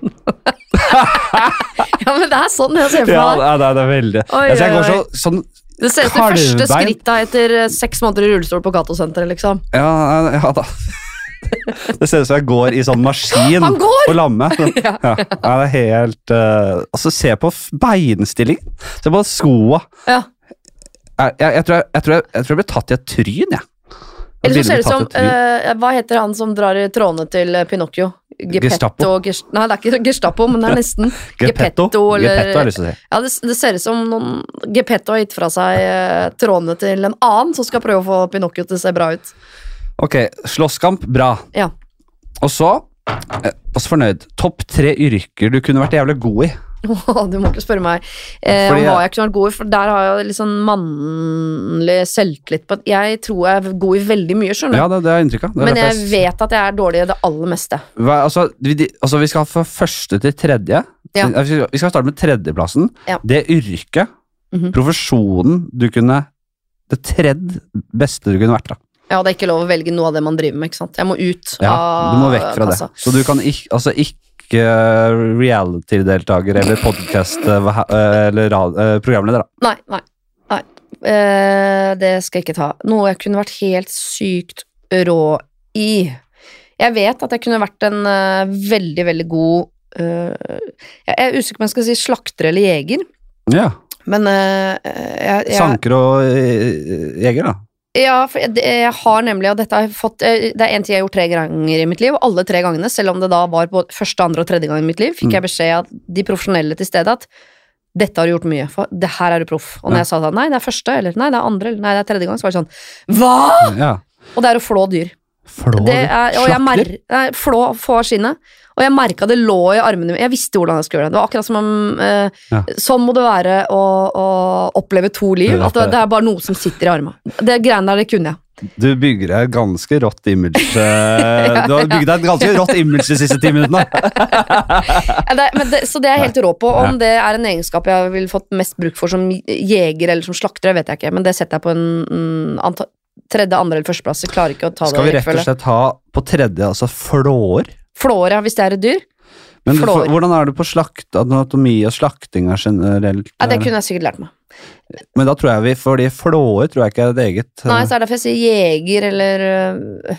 Ja, men det er sånn jeg ja, ser for meg. det er, det er veldig Oi, altså, jeg oi, går oi. så, sånn Det ser ut som første Kalvebein. skritt da etter eh, seks måneder i rullestol på Gatosenteret, liksom. Ja, ja da. Det ser ut som jeg går i sånn maskin Han går! på lamme. Ja. Ja, det er helt eh, Altså, se på f- beinstillingen. Se på skoa. Ja. Jeg, jeg, jeg, tror jeg, jeg, tror jeg, jeg tror jeg ble tatt i et tryn, jeg. jeg. Eller så ser bildet det ut ble som tatt i et tryn. eh, Hva heter han som drar i trådene til eh, Pinocchio? Gestapo. Geppetto Ges nei, det er ikke Gestapo, men det er nesten Geppetto. eller Geppetto har jeg lyst til å si. Ja, det, det ser ut som noen Geppetto har gitt fra seg eh, trådene til en annen som skal prøve å få Pinocchio til å se bra ut. Ok, slåsskamp, bra. Ja. Og så eh, Også fornøyd. Topp tre yrker du kunne vært jævlig god i. Åh, Du må ikke spørre meg eh, om Fordi jeg- hva jeg kunne vært god i, for der har jeg litt sånn mannlig selvtillit på at jeg tror jeg er god i veldig mye, skjønner du. Ja, det, det er inntrykket. Det er Men derfor jeg vet at jeg er dårlig i det aller meste. Hva, altså, vi, de- altså, vi skal fra første til tredje. Eh, Ja. Vi skal- Vi skal starte med tredjeplassen. Ja. Det yrket, Mhm. profesjonen du kunne Det tredje beste du kunne vært. da Ja, det er ikke lov å velge noe av det man driver med, ikke sant. Jeg må ut ja, av Du må vekk fra kassa. det. Så du kan ikke, altså, ikke eh, reality-deltaker eller podcast eh, hva- eh, eller ra- eh, programleder. da Nei, nei. nei. Eh, det skal jeg ikke ta. Noe jeg kunne vært helt sykt rå i. Jeg vet at jeg kunne vært en eh, veldig, veldig god eh, Jeg jeg er usikker på om jeg skal si slakter eller jeger, Ja, men eh, jeg, jeg, Sanker og eh, jeger, da. Ja, for jeg, jeg har nemlig, og dette har jeg fått eh, Det er en ting jeg har gjort tre ganger i mitt liv, og alle tre gangene, selv om det da var både første, andre og tredje gang i mitt liv, fikk Mm. jeg beskjed av de profesjonelle til stedet at dette har du gjort mye, for det her er du proff. Og når Ja. jeg sa da nei, det er første, eller nei, det er andre, eller nei, det er tredje gang, så var det sånn Hva?! Ja. Og det er å flå dyr. Flår Det er, og jeg mer, Slakter? nei, flå få av skinnet. Og jeg merka det lå i armene mine. Jeg visste hvordan jeg skulle gjøre det. Det var akkurat som om eh, Ja. Sånn må det være å, å oppleve to liv. Det er At det, det er bare noe som sitter i armene. Det greiene der, det kunne jeg. Du bygger deg et ganske rått image. eh, Du har bygd deg et ganske rått image de siste ti minuttene. Ja, det, men det, så det er jeg helt rå på. Om det er en egenskap jeg ville fått mest bruk for som jeger eller som slakter, det vet jeg ikke, men det setter jeg på en mm, anta- tredje, andre eller førsteplass. Jeg klarer ikke å ta Skal vi det i rett og rekkefølge. slett ha på tredje, altså flår? Flår, ja, hvis det er et dyr. Men du- Flår. hvordan er du på slakt, anatomi og slaktinga generelt? Ja, det kunne jeg sikkert lært meg. Men da tror jeg vi, fordi flåer tror jeg ikke er et eget eh, Nei, så er det derfor jeg sier jeger eller øh,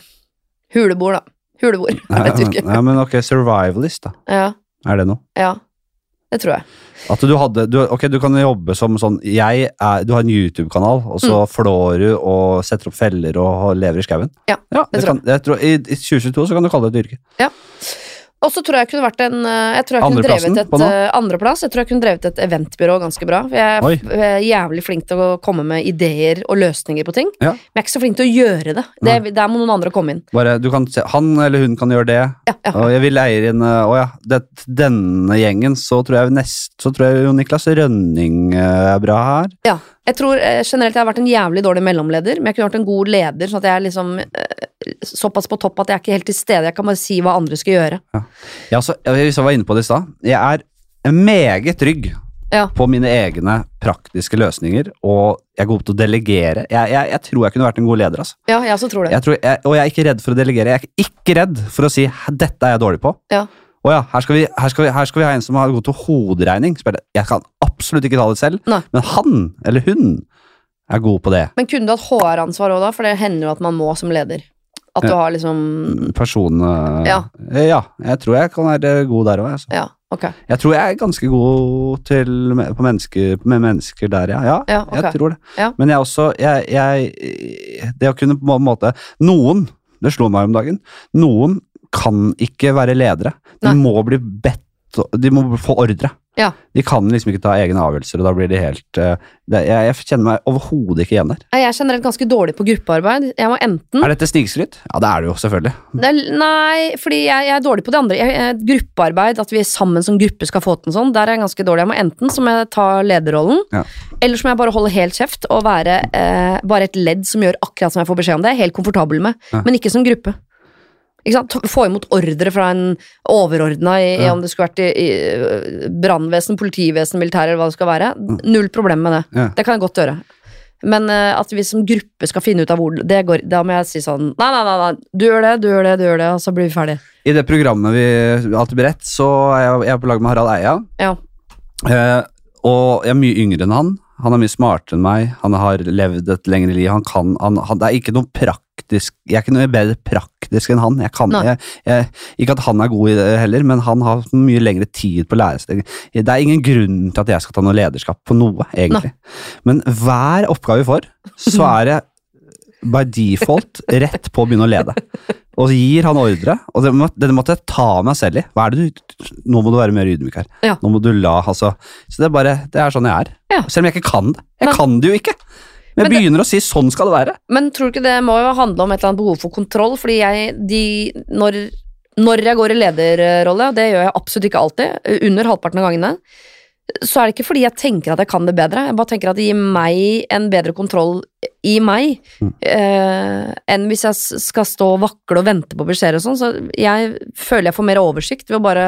huleboer, da. Huleboer. Jeg vet Nei, jo ikke. nei, men ok, survivalist, da. Ja, Er det noe? ja. Det tror jeg. At du hadde du, Ok, du kan jobbe som sånn jeg er, Du har en YouTube-kanal, og Mm. så flår du og setter opp feller og lever i skauen. Ja, det tror kan, jeg tror, i, I 2022 så kan du kalle det et yrke. Og så tror jeg jeg kunne vært en øh, Jeg tror jeg kunne Andreplassen drevet et på nå? øh, andreplass. Jeg tror jeg kunne drevet et eventbyrå ganske bra. For jeg er Oi. f- øh, jævlig flink til å komme med ideer og løsninger på ting. Ja. Men jeg er ikke så flink til å gjøre det. det der må noen andre komme inn. Bare, du kan se, han eller hun kan gjøre det. Ja, ja. Og jeg vil leie inn eh, Å ja, det, denne gjengen, så tror jeg nest, Så tror jeg jo Niklas Rønning eh, er bra her. ja. Jeg tror eh, generelt jeg har vært en jævlig dårlig mellomleder, men jeg kunne vært en god leder, sånn at jeg er liksom eh, såpass på topp at jeg er ikke helt til stede. Jeg kan bare si hva andre skal gjøre. Ja, så, jeg, hvis jeg var inne på det i stad. Jeg er meget trygg Ja. på mine egne praktiske løsninger, og jeg er god til å delegere. Jeg, jeg, jeg tror jeg kunne vært en god leder, altså. Ja, jeg også tror det. Jeg tror, jeg, og jeg er ikke redd for å delegere. Jeg er ikke redd for å si "Hæ, 'dette er jeg dårlig på'. Ja. Å ja, her skal, vi, her, skal vi, her skal vi ha en som har god til hoderegning. Så bare, Jeg kan absolutt ikke ta det selv, Nei. men han eller hun er god på det. Men kunne du hatt HR-ansvar òg, da? For det hender jo at man må som leder. At du har liksom Person eh, Ja. eh, ja, jeg tror jeg kan være god der òg. Altså. Ja, ok. Jeg tror jeg er ganske god til, på mennesker, med mennesker der, ja. ja, Ja, ok. Jeg tror det. Ja. Men jeg er også jeg, jeg, Det å kunne på en måte Noen, det slo meg om dagen, noen kan ikke være ledere. De Nei. må bli bedt De må få ordre. Ja. De kan liksom ikke ta egne avgjørelser, og da blir de helt eh, det, jeg, jeg kjenner meg overhodet ikke igjen der. Nei, Jeg er generelt ganske dårlig på gruppearbeid. Jeg må enten Er dette snikskryt? Ja, det er det jo, selvfølgelig. det er, Nei, fordi jeg, jeg er dårlig på det andre. Jeg, jeg, gruppearbeid, at vi sammen som gruppe skal få til noe sånt, der er jeg ganske dårlig. Jeg må enten så må jeg ta lederrollen, Ja. eller så må jeg bare holde helt kjeft og være eh, bare et ledd som gjør akkurat som jeg får beskjed om. Det er jeg helt komfortabel med, Ja. men ikke som gruppe. Ikke sant? Ta- Få imot ordre fra en overordna i, i Ja. om det skulle vært i, i øh, brannvesen, politivesen, militær eller hva det skal være. Null problem med det. Mm. Ja. Det kan jeg godt gjøre. Men øh, at vi som gruppe skal finne ut av hvor det går, Da må jeg si sånn Nei, nei, nei, nei. du gjør det, du gjør det, du gjør det, og så blir vi ferdig. I det programmet vi alltid beredt, så er jeg, jeg er på lag med Harald Eia. Ja. Eh, og jeg er mye yngre enn han. Han er mye smartere enn meg. Han har levd et lengre liv. Han kan, han, han, det er ikke noe praktisk Jeg er ikke noe bedre praktisk enn han. Jeg kan, Nei. jeg, jeg, ikke at han er god i det heller, men han har hatt mye lengre tid på å lære seg. Det er ingen grunn til at jeg skal ta noe lederskap på noe, egentlig. Men hver oppgave vi får, så er det by default rett på å begynne å lede. Og så gir han ordre, og det, må, det måtte jeg ta meg selv i. Hva er det du, nå må du være mer ydmyk her. Ja. Nå må du la altså. Så det er bare, det er sånn jeg er. Ja. Selv om jeg ikke kan det. Jeg Nei. kan det jo ikke. Men jeg Men det- begynner å si sånn skal det være. Men tror du ikke det må jo handle om et eller annet behov for kontroll? Fordi jeg, de, når, når jeg går i lederrolle, og det gjør jeg absolutt ikke alltid, under halvparten av gangene, så er det ikke fordi jeg tenker at jeg kan det bedre. Jeg bare tenker at det gir meg en bedre kontroll i meg, Mm. eh, enn hvis jeg s- skal stå og vakle og vente på beskjeder og sånn. Så jeg føler jeg får mer oversikt ved å bare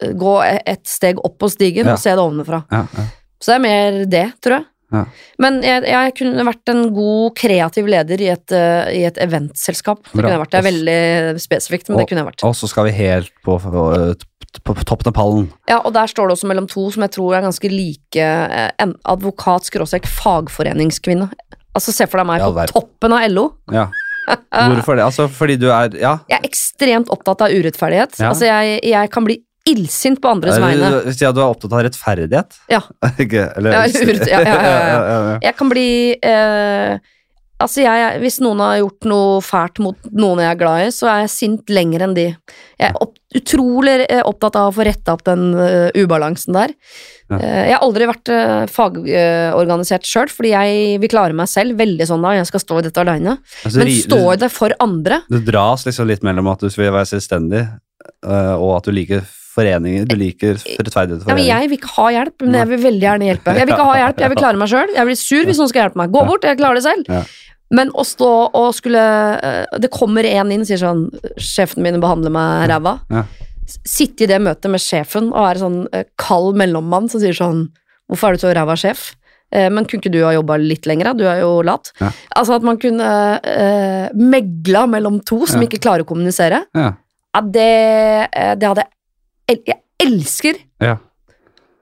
eh, gå e- et steg opp på stigen Ja. og se det ovenfra. Ja, ja. Så det er mer det, tror jeg. Ja. Men jeg, jeg kunne vært en god kreativ leder i et, eh, i et eventselskap. Det Bra. kunne jeg vært. Det er veldig spesifikt, men det kunne jeg vært. Og så skal vi helt på, på, på, på toppen av pallen. Ja, og der står det også mellom to som jeg tror er ganske like eh, en advokat-fagforeningskvinne. Altså, se for deg meg Ja, på verden. toppen av LO. Ja. Ah. Hvorfor det? Altså, fordi du er Ja. Jeg er ekstremt opptatt av urettferdighet. Ja. Altså, jeg, jeg kan bli illsint på andres vegne. Eller, Eh, Si at du er opptatt av rettferdighet. Ja. Ikke, eller, Ja, urett- ja, ja, ja, ja. ja. Jeg kan bli eh, Altså, jeg, hvis noen har gjort noe fælt mot noen jeg er glad i, så er jeg sint lenger enn de. Jeg er opp, utrolig eh, opptatt av å få retta opp den eh, ubalansen der. Ja. Eh, jeg har aldri vært fagorganisert uh, sjøl, fordi jeg vil klare meg selv veldig sånn da. Jeg skal stå i dette aleine. Altså, Men ri- stå i det for andre. Du dras liksom litt mellom at du vil være selvstendig, eh, og at du liker foreninger, du liker rettferdighet Eh, Ja, men foreninger. jeg vil ikke ha hjelp, men jeg vil veldig gjerne hjelpe. Jeg vil ikke ha hjelp, jeg vil klare meg sjøl. Jeg blir sur hvis noen skal hjelpe meg. Gå Ja. bort, jeg klarer det selv. Ja. Men å stå og skulle eh, Det kommer en inn og sier sånn Sjefen min behandler meg ræva. Ja. S- Sitte i det møtet med sjefen og være sånn eh, kald mellommann som sier sånn Hvorfor er du så ræva sjef? Eh, Men kunne ikke du ha jobba litt lenger, da? Du er jo lat. Ja. Altså at man kunne eh, megla mellom to som Ja. ikke klarer å kommunisere. Ja. Ja, det, eh, det hadde jeg el- Jeg elsker Ja.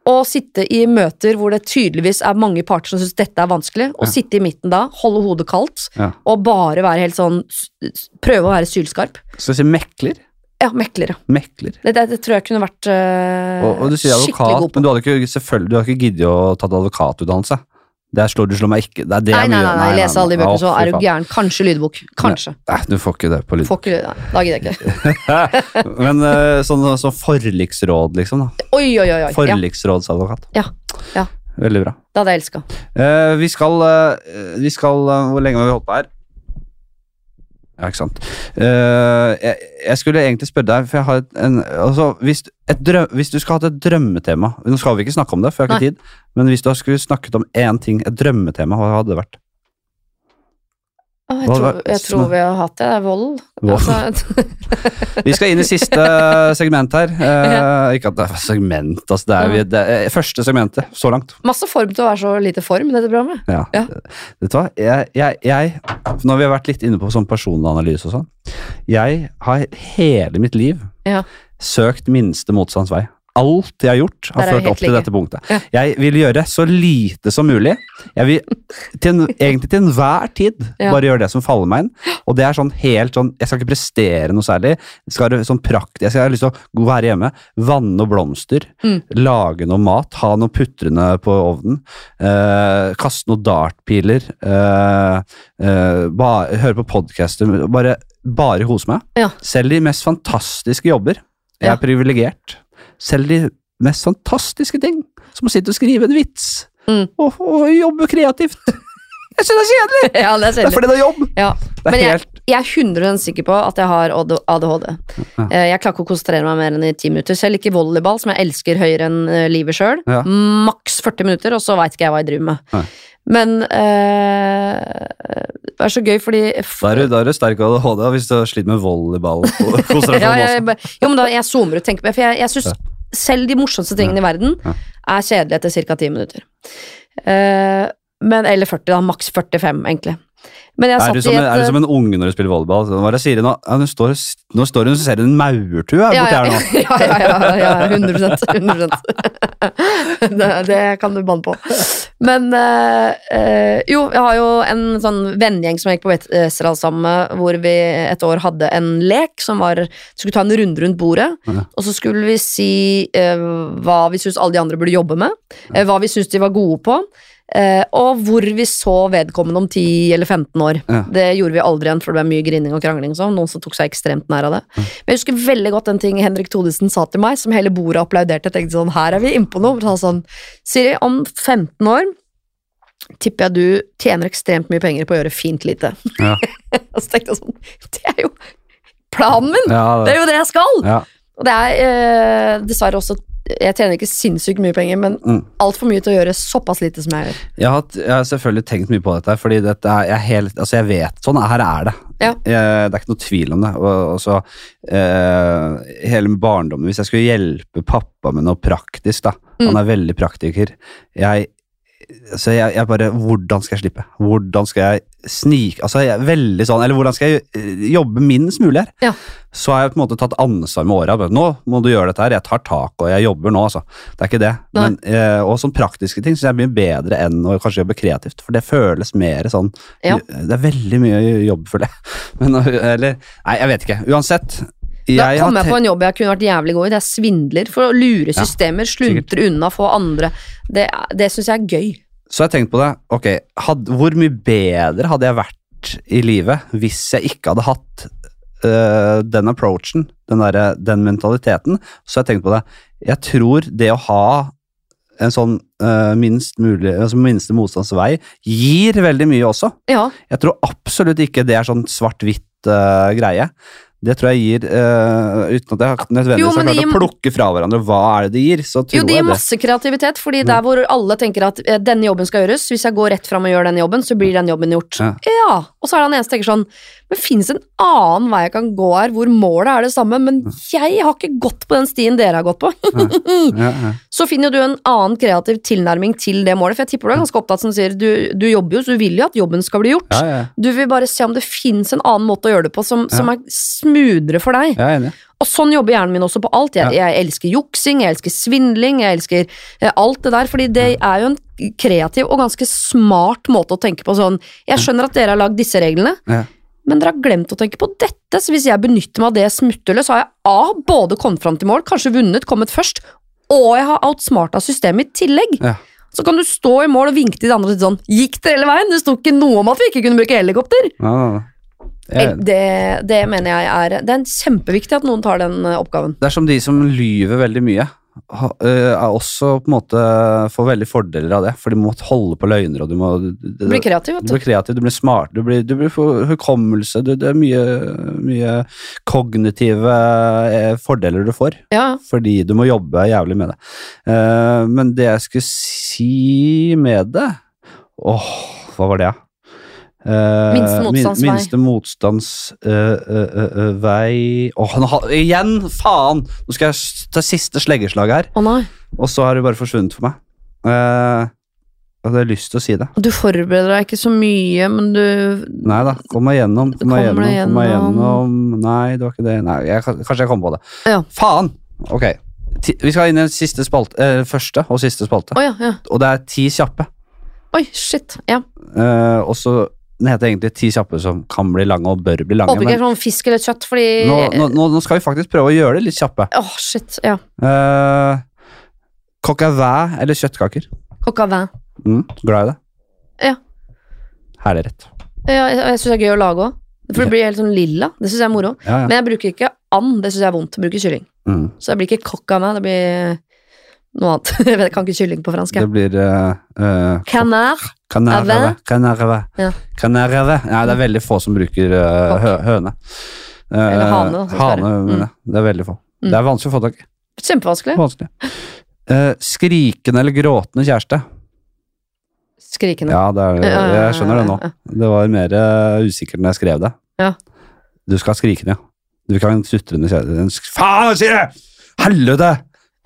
å sitte i møter hvor det tydeligvis er mange parter som syns dette er vanskelig. Å Ja. sitte i midten da, holde hodet kaldt, Ja. og bare være helt sånn s- s- Prøve å være sylskarp. Skal vi si mekler? Ja, mekler, ja. Mekler. Det, det, det tror jeg kunne vært eh, Og, og du sier skikkelig advokat, god på. men du hadde ikke, selvfølgelig, du hadde ikke giddet å tatt advokatutdannelse. Der slår du slår meg ikke. Det er det Nei, jeg nei, må nei, gjøre. nei, lese alle de nei. bøkene, Å, så fy er du faen. gæren. Kanskje lydbok. Kanskje. Nei, du får ikke det på lyd. Får ikke lyd. Nei, da gidder jeg ikke. Men eh, sånn sånn forliksråd, liksom. da. Oi, oi, oi. oi. Ja, Forliksrådsadvokat. Ja. Ja. Veldig bra. det hadde jeg elska. Eh, vi skal, eh, vi skal eh, Hvor lenge har vi holdt på her? Ja, ikke sant. Eh, jeg, jeg skulle egentlig spørre deg, for jeg har et, en, altså, hvis, et drøm, hvis du skulle hatt et drømmetema Nå skal vi ikke snakke om det, for jeg har ikke tid. Men hvis du skulle snakket om én ting, et drømmetema, hva hadde det vært? Jeg, Hva tror- var- jeg tror vi har hatt det. Det er vold. Vold. Altså, Vi skal inn i siste segment her. Eh, ikke at det er segment, altså. Det er, vi, det er første segmentet så langt. masse form til å være så lite form i dette programmet. Ja. Ja. Vet du hva? Jeg, jeg, jeg, når vi har vært litt inne på sånn personanalyse og sånn, jeg har hele mitt liv Ja. søkt minste motstands vei. Alt jeg har gjort, har Der er vi ført helt opp til like. dette punktet. Ja. Jeg vil gjøre så lite som mulig. Jeg vil til en, egentlig til enhver tid Ja. bare gjøre det som faller meg inn. Og det er sånn helt sånn Jeg skal ikke prestere noe særlig. Jeg skal være sånn prakt, jeg skal ha lyst til å gå- være hjemme, vanne noen blomster, Mm. lage noe mat, ha noe putrende på ovnen, eh, kaste noen dartpiler, eh, eh, ba, høre på podcaster, bare, bare hose meg. Ja. Selv de mest fantastiske jobber. Jeg Ja. er privilegert. Selv de mest fantastiske ting, som å sitte og skrive en vits, Mm. og, og jobbe kreativt. Jeg synes det er kjedelig! ja, det er Det er kjedelig. fordi det er jobb! Ja. Det er Men jeg- helt Jeg er 100 sikker på at jeg har AD- ADHD. Ja. Eh, Jeg klarer ikke å konsentrere meg mer enn i ti minutter. Selv ikke volleyball, som jeg elsker høyere enn eh, livet sjøl. Ja. Maks 40 minutter, og så veit ikke jeg hva jeg driver med. Nei. Men eh, det er så gøy, fordi Da er du, da er du sterk ADHD da, hvis du sliter med volleyball. og konsentrasjon ja, jeg, også. bare- jo, men da, jeg zoomer ut, tenker jeg. For jeg, jeg syns Ja. selv de morsomste tingene i verden Ja. er kjedelige etter ca. 10 minutter. Eh, men, eller 40, da. Maks 45, egentlig. Men jeg Er satt du, som, i en- et eh, er du som en unge når du spiller volleyball? Så, Hva er det jeg sier nå? Ja, nå, står, nå står hun og ser en maurtue her borti her nå. ja, ja, ja, ja, 100, 100%. det, det kan du banne på. Men eh, eh, jo, jeg har jo en sånn vennegjeng som jeg gikk på Westerdal sammen med, hvor vi et år hadde en lek som var Skulle ta en runde rundt bordet, Ja. og så skulle vi si eh, hva vi syns alle de andre burde jobbe med, eh, hva vi syns de var gode på. eh, og hvor vi så vedkommende om 10 eller 15 år. Ja. Det gjorde vi aldri igjen, for det ble mye grining og krangling. og sånn. Noen som tok seg ekstremt nær av det. Men jeg husker veldig godt den ting Henrik Thodesen sa til meg, som hele bordet applauderte. Jeg tenkte sånn, her er vi innpå noe. Han sa sånn, Siri, om 15 år tipper jeg du tjener ekstremt mye penger på å gjøre fint lite. Ja. Og så tenkte jeg sånn, det er jo planen min! Ja, Det er jo det jeg skal! ja. Og det er eh, dessverre også Jeg tjener ikke sinnssykt mye penger, men Mm. altfor mye til å gjøre såpass lite som jeg gjør. Jeg har, hatt- jeg har selvfølgelig tenkt mye på dette, her, fordi dette er, jeg, er helt, altså jeg vet sånn, her er det. Ja. Jeg, det er ikke noe tvil om det. Og, og så, eh, hele barndommen, hvis jeg skulle hjelpe pappa med noe praktisk, da. Mm. Han er veldig praktiker. Jeg, så jeg, jeg bare, hvordan skal jeg slippe? Hvordan skal jeg snike? Altså, jeg er veldig sånn, eller hvordan skal jeg eh, jobbe minst mulig her? Ja. Så har jeg på en måte tatt ansvar med året. Nå må du gjøre dette her, jeg tar tak og jeg jobber nå, altså. Det er ikke det. Nei. Men, eh, og sånn praktiske ting syns jeg er mye bedre enn å kanskje jobbe kreativt, for det føles mer sånn Ja. Det er veldig mye jobb, føler jeg. Men eh, eller Nei, jeg vet ikke. Uansett. Da jeg har kom jeg te- på en jobb jeg kunne vært jævlig god i. Det er svindler for å lure systemer, sluntre unna, få andre. Det, er- det syns jeg er gøy. Så jeg tenkte på det. Ok, had, hvor mye bedre hadde jeg vært i livet hvis jeg ikke hadde hatt øh, den approachen, den, derre- den mentaliteten? Så jeg tenkte på det. Jeg tror det å ha en sånn øh, minst mulig, altså minste motstands vei gir veldig mye også. Ja, Jeg tror absolutt ikke det er sånn svart-hvitt øh, greie. Det tror jeg gir, øh, uten at jeg har Jo, nødvendigvis men har det klart å plukke fra hverandre hva er det det gir, så tror jo, det jeg gir det. masse kreativitet, fordi der hvor alle tenker at eh, denne jobben skal gjøres, hvis jeg går rett fram og gjør den jobben, så blir den jobben gjort. Ja. Ja, og så er det han eneste som tenker sånn, men finnes det en annen vei jeg kan gå her, hvor målet er det samme, men jeg har ikke gått på den stien dere har gått på. Ja, ja. Så finner du en annen kreativ tilnærming til det målet, for jeg tipper du er ganske opptatt som sier, du, du jobber jo, så du vil jo at jobben skal bli gjort. Ja, ja. Du vil bare se om det finnes en annen måte å gjøre det på som, som er smudere for deg. Jeg er enig. Og sånn jobber hjernen min også på alt. Jeg, jeg elsker juksing, jeg elsker svindling, jeg elsker eh, alt det der. Fordi det er jo en kreativ og ganske smart måte å tenke på sånn Jeg skjønner at dere har lagd disse reglene, Ja. men dere har glemt å tenke på dette. Så hvis jeg benytter meg av det smutthullet, så har jeg A. Både kommet fram til mål, kanskje vunnet, kommet først, og jeg har outsmarta systemet i tillegg. Ja. Så kan du stå i mål og vinke til de andre og si sånn Gikk det hele veien? Det sto ikke noe om at vi ikke kunne bruke helikopter. Eh, Ja, ja, ja. Jeg er enig. Det, det mener jeg er Det er kjempeviktig at noen tar den eh, oppgaven. Det er som de som lyver veldig mye, ha, øh, er også på en måte får veldig fordeler av det. For du må holde på løgner, og du må Du blir kreativ, vet du du. blir kreativ, du blir smart, du blir, du blir for- hukommelse. Du, det er mye, mye kognitive eh, fordeler du får, Ja, fordi du må jobbe jævlig med det. Eh, men det jeg skulle si med det Åh, hva var det, da? Eh, Minste motstands min, vei. minste motstands eh, eh, eh, eh, vei Åh, nå har- igjen! Faen! Nå skal jeg s- ta siste sleggeslag her, Å nei. og så har det bare forsvunnet for meg. Eh, jeg hadde lyst til å si det. Du forbereder deg ikke så mye, men du Nei da, kom meg gjennom, kom meg gjennom, Kommer det kom meg gjennom? gjennom. Nei, det var ikke det. Nei, jeg, kan- kanskje jeg kommer på det. Ja. Faen! Ok. Ti, vi skal inn i den siste spalte, eh, første og siste spalte, Å ja, ja. og det er ti kjappe. Oi, shit. Ja. Eh, og så Den heter egentlig ti kjappe som kan bli lange og bør bli lange. Håper ikke det er sånn fisk eller kjøtt, fordi men nå, nå, nå, nå skal vi faktisk prøve å gjøre det litt kjappe. Åh, shit. Ja. Uh, Coq au vin eller kjøttkaker? Coq au vin. Mm, glad i det? Ja. Herlig rett. Ja, jeg jeg syns det er gøy å lage òg. For det blir helt sånn lilla. Det syns jeg er moro. Ja, ja. Men jeg bruker ikke and. Det syns jeg er vondt. Jeg bruker kylling. Mm. Så det blir ikke coq au vin. Det blir noe annet. Jeg vet- kan ikke kylling på fransk. Det jeg. blir eh, eh, Canard. Kanareve. Ave. Kanareve. Ja. Kanareve. Nei, det er veldig få som bruker eh, hø høne. Eh, Eller hane, da, som hane, Sverre. mener jeg. Det er veldig få. Mm. Det er vanskelig å få tak i. Kjempevanskelig. Vanskelig. Eh, skrikende eller gråtende kjæreste. Skrikende. Ja, det er, jeg skjønner det nå. Det var mer eh, usikkert når jeg skrev det. Ja. Du skal ha skrikende, ja. Du kan ha en sutrende kjæreste. En sk- Faen, hva sier jeg?! Helvete!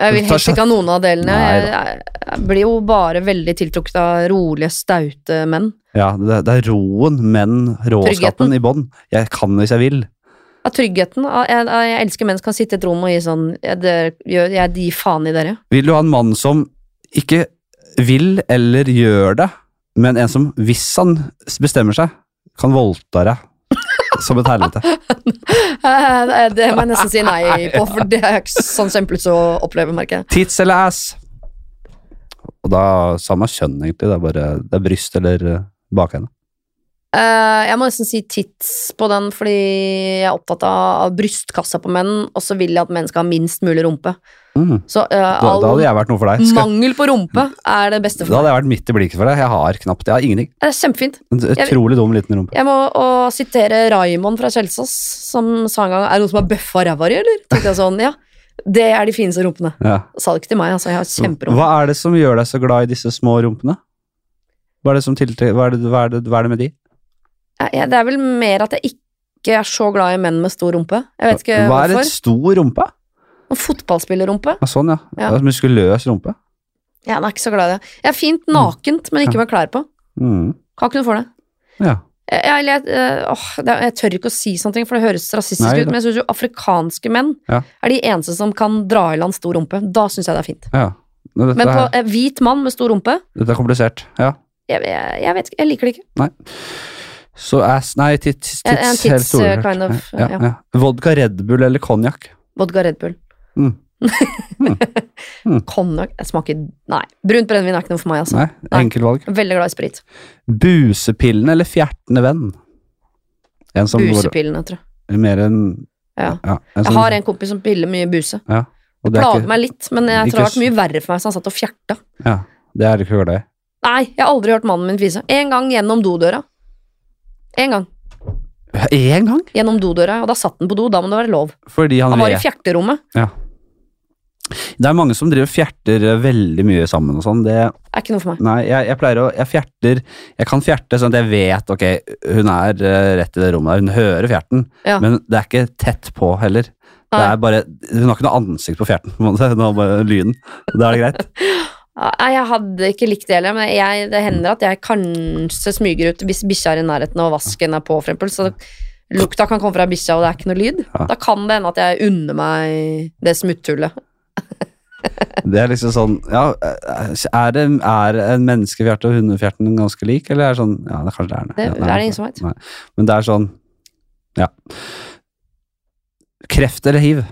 Jeg vil Ta helst sjansen. ikke ha noen av delene. Nei Jeg, jeg, jeg blir jo bare veldig tiltrukket av rolige, staute menn. Ja, det, det er roen, men råskapen Tryggheten. i bånn. Jeg kan hvis jeg vil. Av tryggheten. Av, jeg, jeg elsker menn som kan sitte i et rom og gi sånn Jeg, dere- gjør- jeg gir faen i dere. Vil du ha en mann som ikke vil eller gjør det, men en som, hvis han bestemmer seg, kan voldta deg som et helvete? Eh, Det det må jeg nesten si nei på, for det er ikke sånn kjempelyst til å oppleve, merker jeg. Tits eller ass? Og da samme kjønn, egentlig. Det er bare det er bryst eller eh, bakende. Eh, Jeg må nesten si tits på den, fordi jeg er opptatt av av brystkassa på menn, og så vil jeg at menn skal ha minst mulig rumpe. Mm. Så eh, Da, da hadde all jeg vært noe for deg. Skal, mangel på rumpe er det beste da for meg. hadde jeg vært midt i blikket for deg. Jeg har knapt Jeg har ingenting. Det er kjempefint. En utrolig dum liten rumpe. Jeg må å sitere Raimond fra Kjelsås, som sa en gang Er det noen som har bøffa ræva di, eller? Tenkte jeg sånn, ja. Det er de fineste rumpene. Ja. Sa det ikke til meg, altså. Jeg har kjemperumpe. Hva er det som gjør deg så glad i disse små rumpene? Hva er det, som tiltre- hva er det, hva er det, hva er det med de? Jeg- jeg- Det er vel mer at jeg ikke er så glad i menn med stor rumpe. Jeg vet ikke Hva er hvorfor. et stor rumpe? En fotballspillerrumpe? Ja, sånn, ja. Ja. Det er Muskuløs rumpe. Ja, jeg er ikke så glad i det. Jeg er fint nakent, men ikke med klær på. Mm. Kan ikke noe for det. Ja. Jeg, jeg, jeg, eh, åh, det er- jeg tør ikke å si sånne ting, for det høres rasistisk Nei, ut, men jeg syns jo afrikanske menn Ja. er de eneste som kan dra i land stor rumpe. Da syns jeg det er fint. ja. Nå, Dette, Men på er, eh, hvit mann med stor rumpe dette er komplisert. Ja. jeg, jeg, jeg vet ikke, jeg liker det ikke. Så ass Nei, tits. tits, En- en tits, helt store, uh, kind klart. of, ja, ja. ja. Vodka, Red Bull eller konjakk? Vodka Red Bull. Mm. Mm. Mm. Konjakk jeg smaker Nei. Brunt brennevin er ikke noe for meg, altså. Nei, Nei. enkeltvalg. Veldig glad i sprit. Busepillene eller fjertende venn? En som går Busepillene, tror jeg. mer enn Ja. en Jeg som, har en kompis som piller mye buse. og det er Plager ikke, meg litt, men jeg ikke tror det har s- vært mye verre for meg hvis han satt og fjerta. ja, det er du ikke glad i. Nei, jeg har aldri hørt mannen min fise. En gang gjennom dodøra. En gang. Én gang? Gjennom dodøra, og da satt den på do. Da må det være lov. Fordi han, Han var i vet- fjerterommet. Det er mange som driver og fjerter eh, veldig mye sammen og sånn. Det, Er ikke noe for meg. Nei, jeg, jeg pleier å Jeg fjerter Jeg kan fjerte sånn at jeg vet Ok, hun er eh, rett i det rommet der. Hun hører fjerten, Ja. men det er ikke tett på heller. Det Nei. er bare Hun har ikke noe ansikt på fjerten, på en måte. Hun har bare lyden. Da er det greit. Nei, jeg hadde ikke likt det heller, men jeg, det hender at jeg kanskje smyger ut hvis bikkja er i nærheten og vasken er på, for eksempel. Så lukta kan komme fra bikkja, og det er ikke noe lyd. Ja. Da kan det hende at jeg unner meg det smutthullet. Det er liksom sånn Ja, er, det, er en menneskefjerte og hundefjerten ganske lik, eller er det sånn Ja, det kanskje det er det. Det Ja, er det ingen som vet. Nei. Men det er sånn Ja. Kreft eller hiv?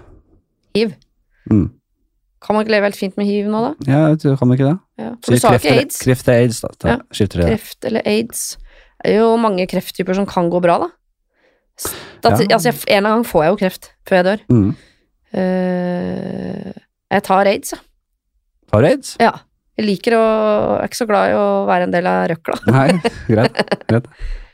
Hiv. Mm. Kan man ikke leve helt fint med hiv nå, da? Ja, vet du, kan vi ikke det? Ja. For du sa kreft ikke eller- aids. Kreft eller aids, da. da Ja. Skifter det. Kreft eller aids. Det er jo mange krefttyper som kan gå bra, da. Stat Ja. Altså, jeg, en eller annen gang får jeg jo kreft før jeg dør. Mm. Eh, jeg tar aids, jeg. Har du aids? Ja. Jeg liker å Jeg er ikke så glad i å være en del av røkla. Nei, greit. greit.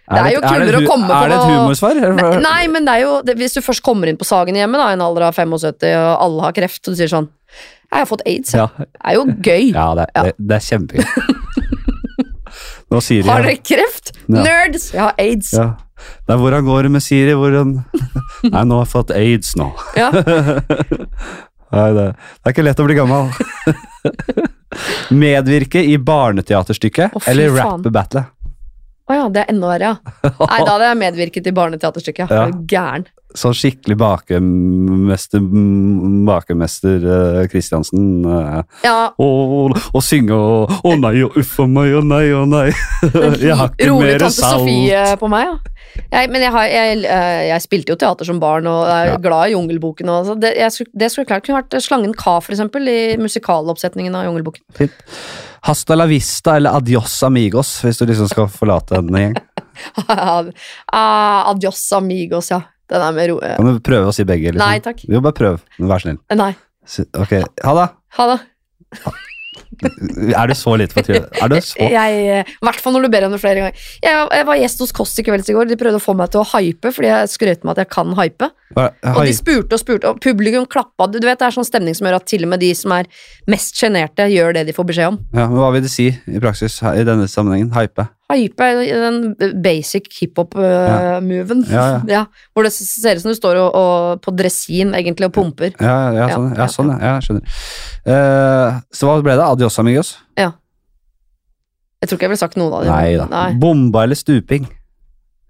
Det er jo kulere å hu- komme på Er det et hva- humorsvar? Nei, nei, men det er jo det, Hvis du først kommer inn på Sagen hjemme da, i en alder av 75, og alle har kreft, og du sier sånn Jeg har fått aids. jeg». Ja, Det er jo gøy. ja, det, er- det, det er kjempegøy. Nå Siri Har dere kreft? Ja. Nerds! Jeg har aids. Ja. ja. Nei, hvordan går det med Siri? Hvordan Nei, nå har jeg fått aids nå. Nei, det, det er ikke lett å bli gammel. Medvirke i barneteaterstykket Å, fy eller faen. rappebattle? Å ja, det er enda verre, ja. Nei, da hadde jeg medvirket i barneteaterstykket. Ja. Ja. Er du Gæren. Sånn skikkelig bakemester Bakemester eh, Kristiansen. eh, Ja, og, og synge og Å nei, og uff a meg, å nei, å nei. Jeg har ikke rolig mer tante salt. Sofie eh, på meg, ja. Jeg, men jeg, har, jeg, eh, jeg spilte jo teater som barn, og er Ja. glad i Jungelboken. Og, så det, jeg, skulle- det skulle klart kunne vært eh, Slangen K, for eksempel, i musikaloppsetningen av Jungelboken. Hasta la vista eller adios amigos, hvis du liksom skal forlate en gjeng. ah, adios amigos, ja. Den er med ro... eh, Kan du prøve å si begge? Liksom? Nei takk. Jo, bare prøv. Men Vær snill. Nei. Si- Ok, ha det. Ha det. Er du så lite fortvilet? Er du så Jeg, eh, I hvert fall når du ber om det flere ganger. Jeg, jeg var gjest hos Kåss i Kvelds i går. De prøvde å få meg til å hype, fordi jeg skrøt med at jeg kan hype. Hva- Og de Hei. spurte og spurte, og publikum klappa. Du, du vet, Det er sånn stemning som gjør at til og med de som er mest sjenerte, gjør det de får beskjed om. Ja, men hva vil det si i praksis her- i denne sammenhengen? Hype? Hype er den basic hiphop-moven. Ja, ja. hvor det ser ut som du står og, og, på dressin egentlig og pumper. Ja, ja, Ja, sånn, ja, ja, sånn, ja, jeg skjønner. Eh, så hva ble det? Adios, amigos? Jeg tror ikke jeg ville sagt noen av dem. Nei da. Bomba eller stuping?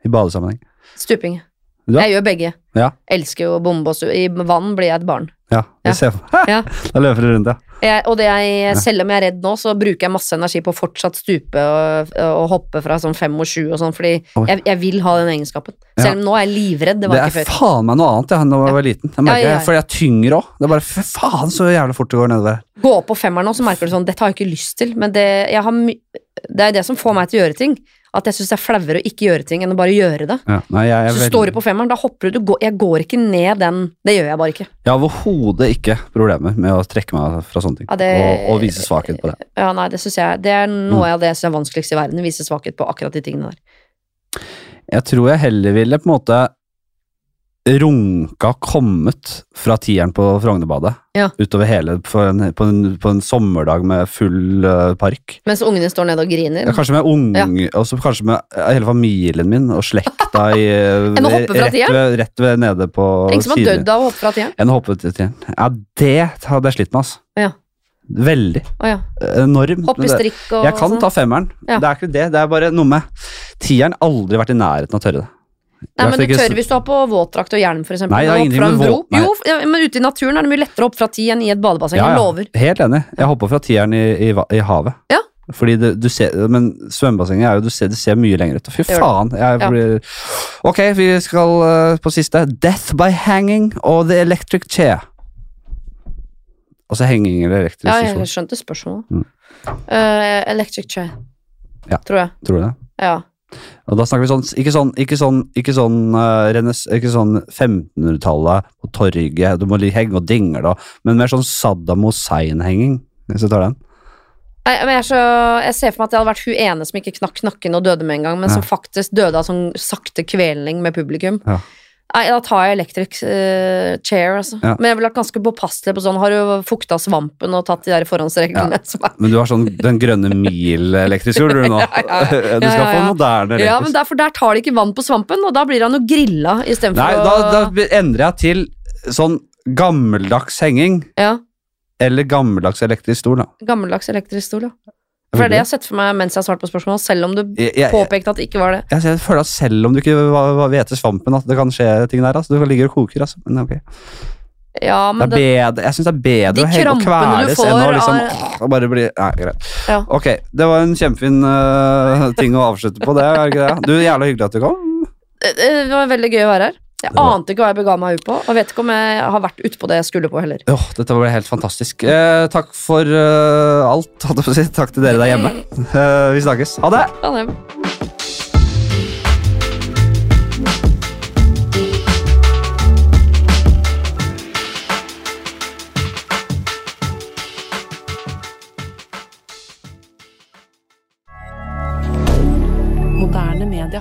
I badesammenheng. Stuping. Du da? Jeg gjør begge. Ja. Elsker jo å bombe og stu... I vann blir jeg et barn. Ja, Ja. det ser jeg for Ja. Da løper du rundt, ja. Jeg, og det jeg, selv om jeg er redd nå, så bruker jeg masse energi på å fortsatt stupe og, og hoppe fra sånn fem og sju og sånn, fordi Oi. jeg, jeg vil ha den egenskapen. Ja. Selv om nå er jeg livredd, det Det, var jeg er ikke før. faen meg noe annet ja, da jeg var liten. Jeg merker, Ja, ja, ja. jeg, For jeg er tyngre òg. Det er bare fy faen så jævlig fort det går nedover. Gå opp på femmeren nå, så merker du sånn, dette har jeg ikke lyst til, men det, jeg har my det er det som får meg til å gjøre ting. At jeg syns det er flauere å ikke gjøre ting enn å bare gjøre det. Ja, nei, jeg er Så står du på femmeren, da hopper du. du går, jeg går ikke ned den. Det gjør jeg bare ikke. Jeg har overhodet ikke problemer med å trekke meg fra sånne ting. Ja, det- og, og vise svakhet på det. Ja, nei, Det synes jeg, det er Mm. noe av det jeg syns er vanskeligst i verden. å Vise svakhet på akkurat de tingene der. Jeg tror jeg heller ville på en måte runka kommet fra tieren på Frognerbadet. Ja. Utover hele på en, på, en, på en sommerdag med full eh, park. Mens ungene står nede og griner. Ja, kanskje med unge, og så kanskje med eh, hele familien min og slekta i eh, Enn å hoppe fra rett, ved, rett ved nede på Det er ingen som har dødd av å hoppe fra tieren? Enn å hoppe til tieren. Ja, det hadde jeg slitt med, altså. Ja. Veldig. Å ja. Enormt. Hopp i strikk og Jeg kan sånn. ta femmeren. Ja. Det er ikke det. Det er bare noe med Tieren aldri vært i nærheten av å tørre det. Nei, Jeg men du fikk- tør hvis du har på våtdrakt og hjelm, for eksempel. Nei, det og har hoppe ingenting fra en med bro. våt- nei. Jo, ja, men ute i naturen er det mye lettere å hoppe fra ti enn i et badebasseng. Ja, ja. Jeg lover. Helt enig. Jeg hoppa fra tieren i, i, va- i havet. Ja. Fordi det, du ser, Men svømmebassenget er jo, du ser, det ser mye lenger ut. Fy gjør det. faen. Jeg Ja. blir, ok, vi skal eh, på siste. Death by hanging og the electric chair. Altså henging eller elektrisk Ja, stol. jeg skjønte spørsmålet. Mm. Eh, electric chair, Ja. tror jeg. Tror du det? Ja. Og da snakker vi sånn Ikke sånn, ikke sånn, ikke sånn, eh, rennes- ikke sånn 1500-tallet på torget, du må li- henge og dingle, da. men mer sånn Saddam Hussein-henging. Hvis du tar den. Nei, men jeg, er så, jeg ser for meg at jeg hadde vært hun ene som ikke knakk knakken og døde med en gang, men som faktisk døde av sånn sakte kvelning med publikum. Ja. Nei, da tar jeg electric eh, chair, altså. Ja. Men jeg ville vært ganske påpasselig på sånn. Har du fukta svampen og tatt de der forhåndsreglene som er Men du har sånn Den grønne mil-elektrisk, gjorde du nå? ja, ja. Du skal Ja, ja, få ja. moderne Ja, men elektrisk. derfor der tar de ikke vann på svampen, og da blir han jo grilla istedenfor Nei, å da, da endrer jeg til sånn gammeldags henging Ja. eller gammeldags elektrisk stol, da. Gammeldags elektrisk stol, ja. For det er det jeg har sett for meg mens jeg har svart på spørsmål, selv om du Jeg, jeg, påpekte at det ikke var det. jeg, jeg føler at selv om du ikke var- var- vet svampen, at det kan skje ting der. Altså. Du ligger og koker, altså. Men ok. Ja, men det det, er bedre, jeg syns det er bedre De å henge og krampene du kveles enn å får liksom av- åh, bare bli Nei, greit. Ja. Ok, det var en kjempefin eh, ting å avslutte på, det. er ikke det? Du, Jævla hyggelig at du kom. det var veldig gøy å være her. Jeg Det var- ante ikke hva jeg bega meg ut på, og vet ikke om jeg har vært utpå det jeg skulle på heller. Åh, dette ble helt fantastisk. Eh, takk for eh, alt, holdt jeg på å si. Takk til dere der hjemme. Eh, vi snakkes. Ha det! Ja, det Moderne media.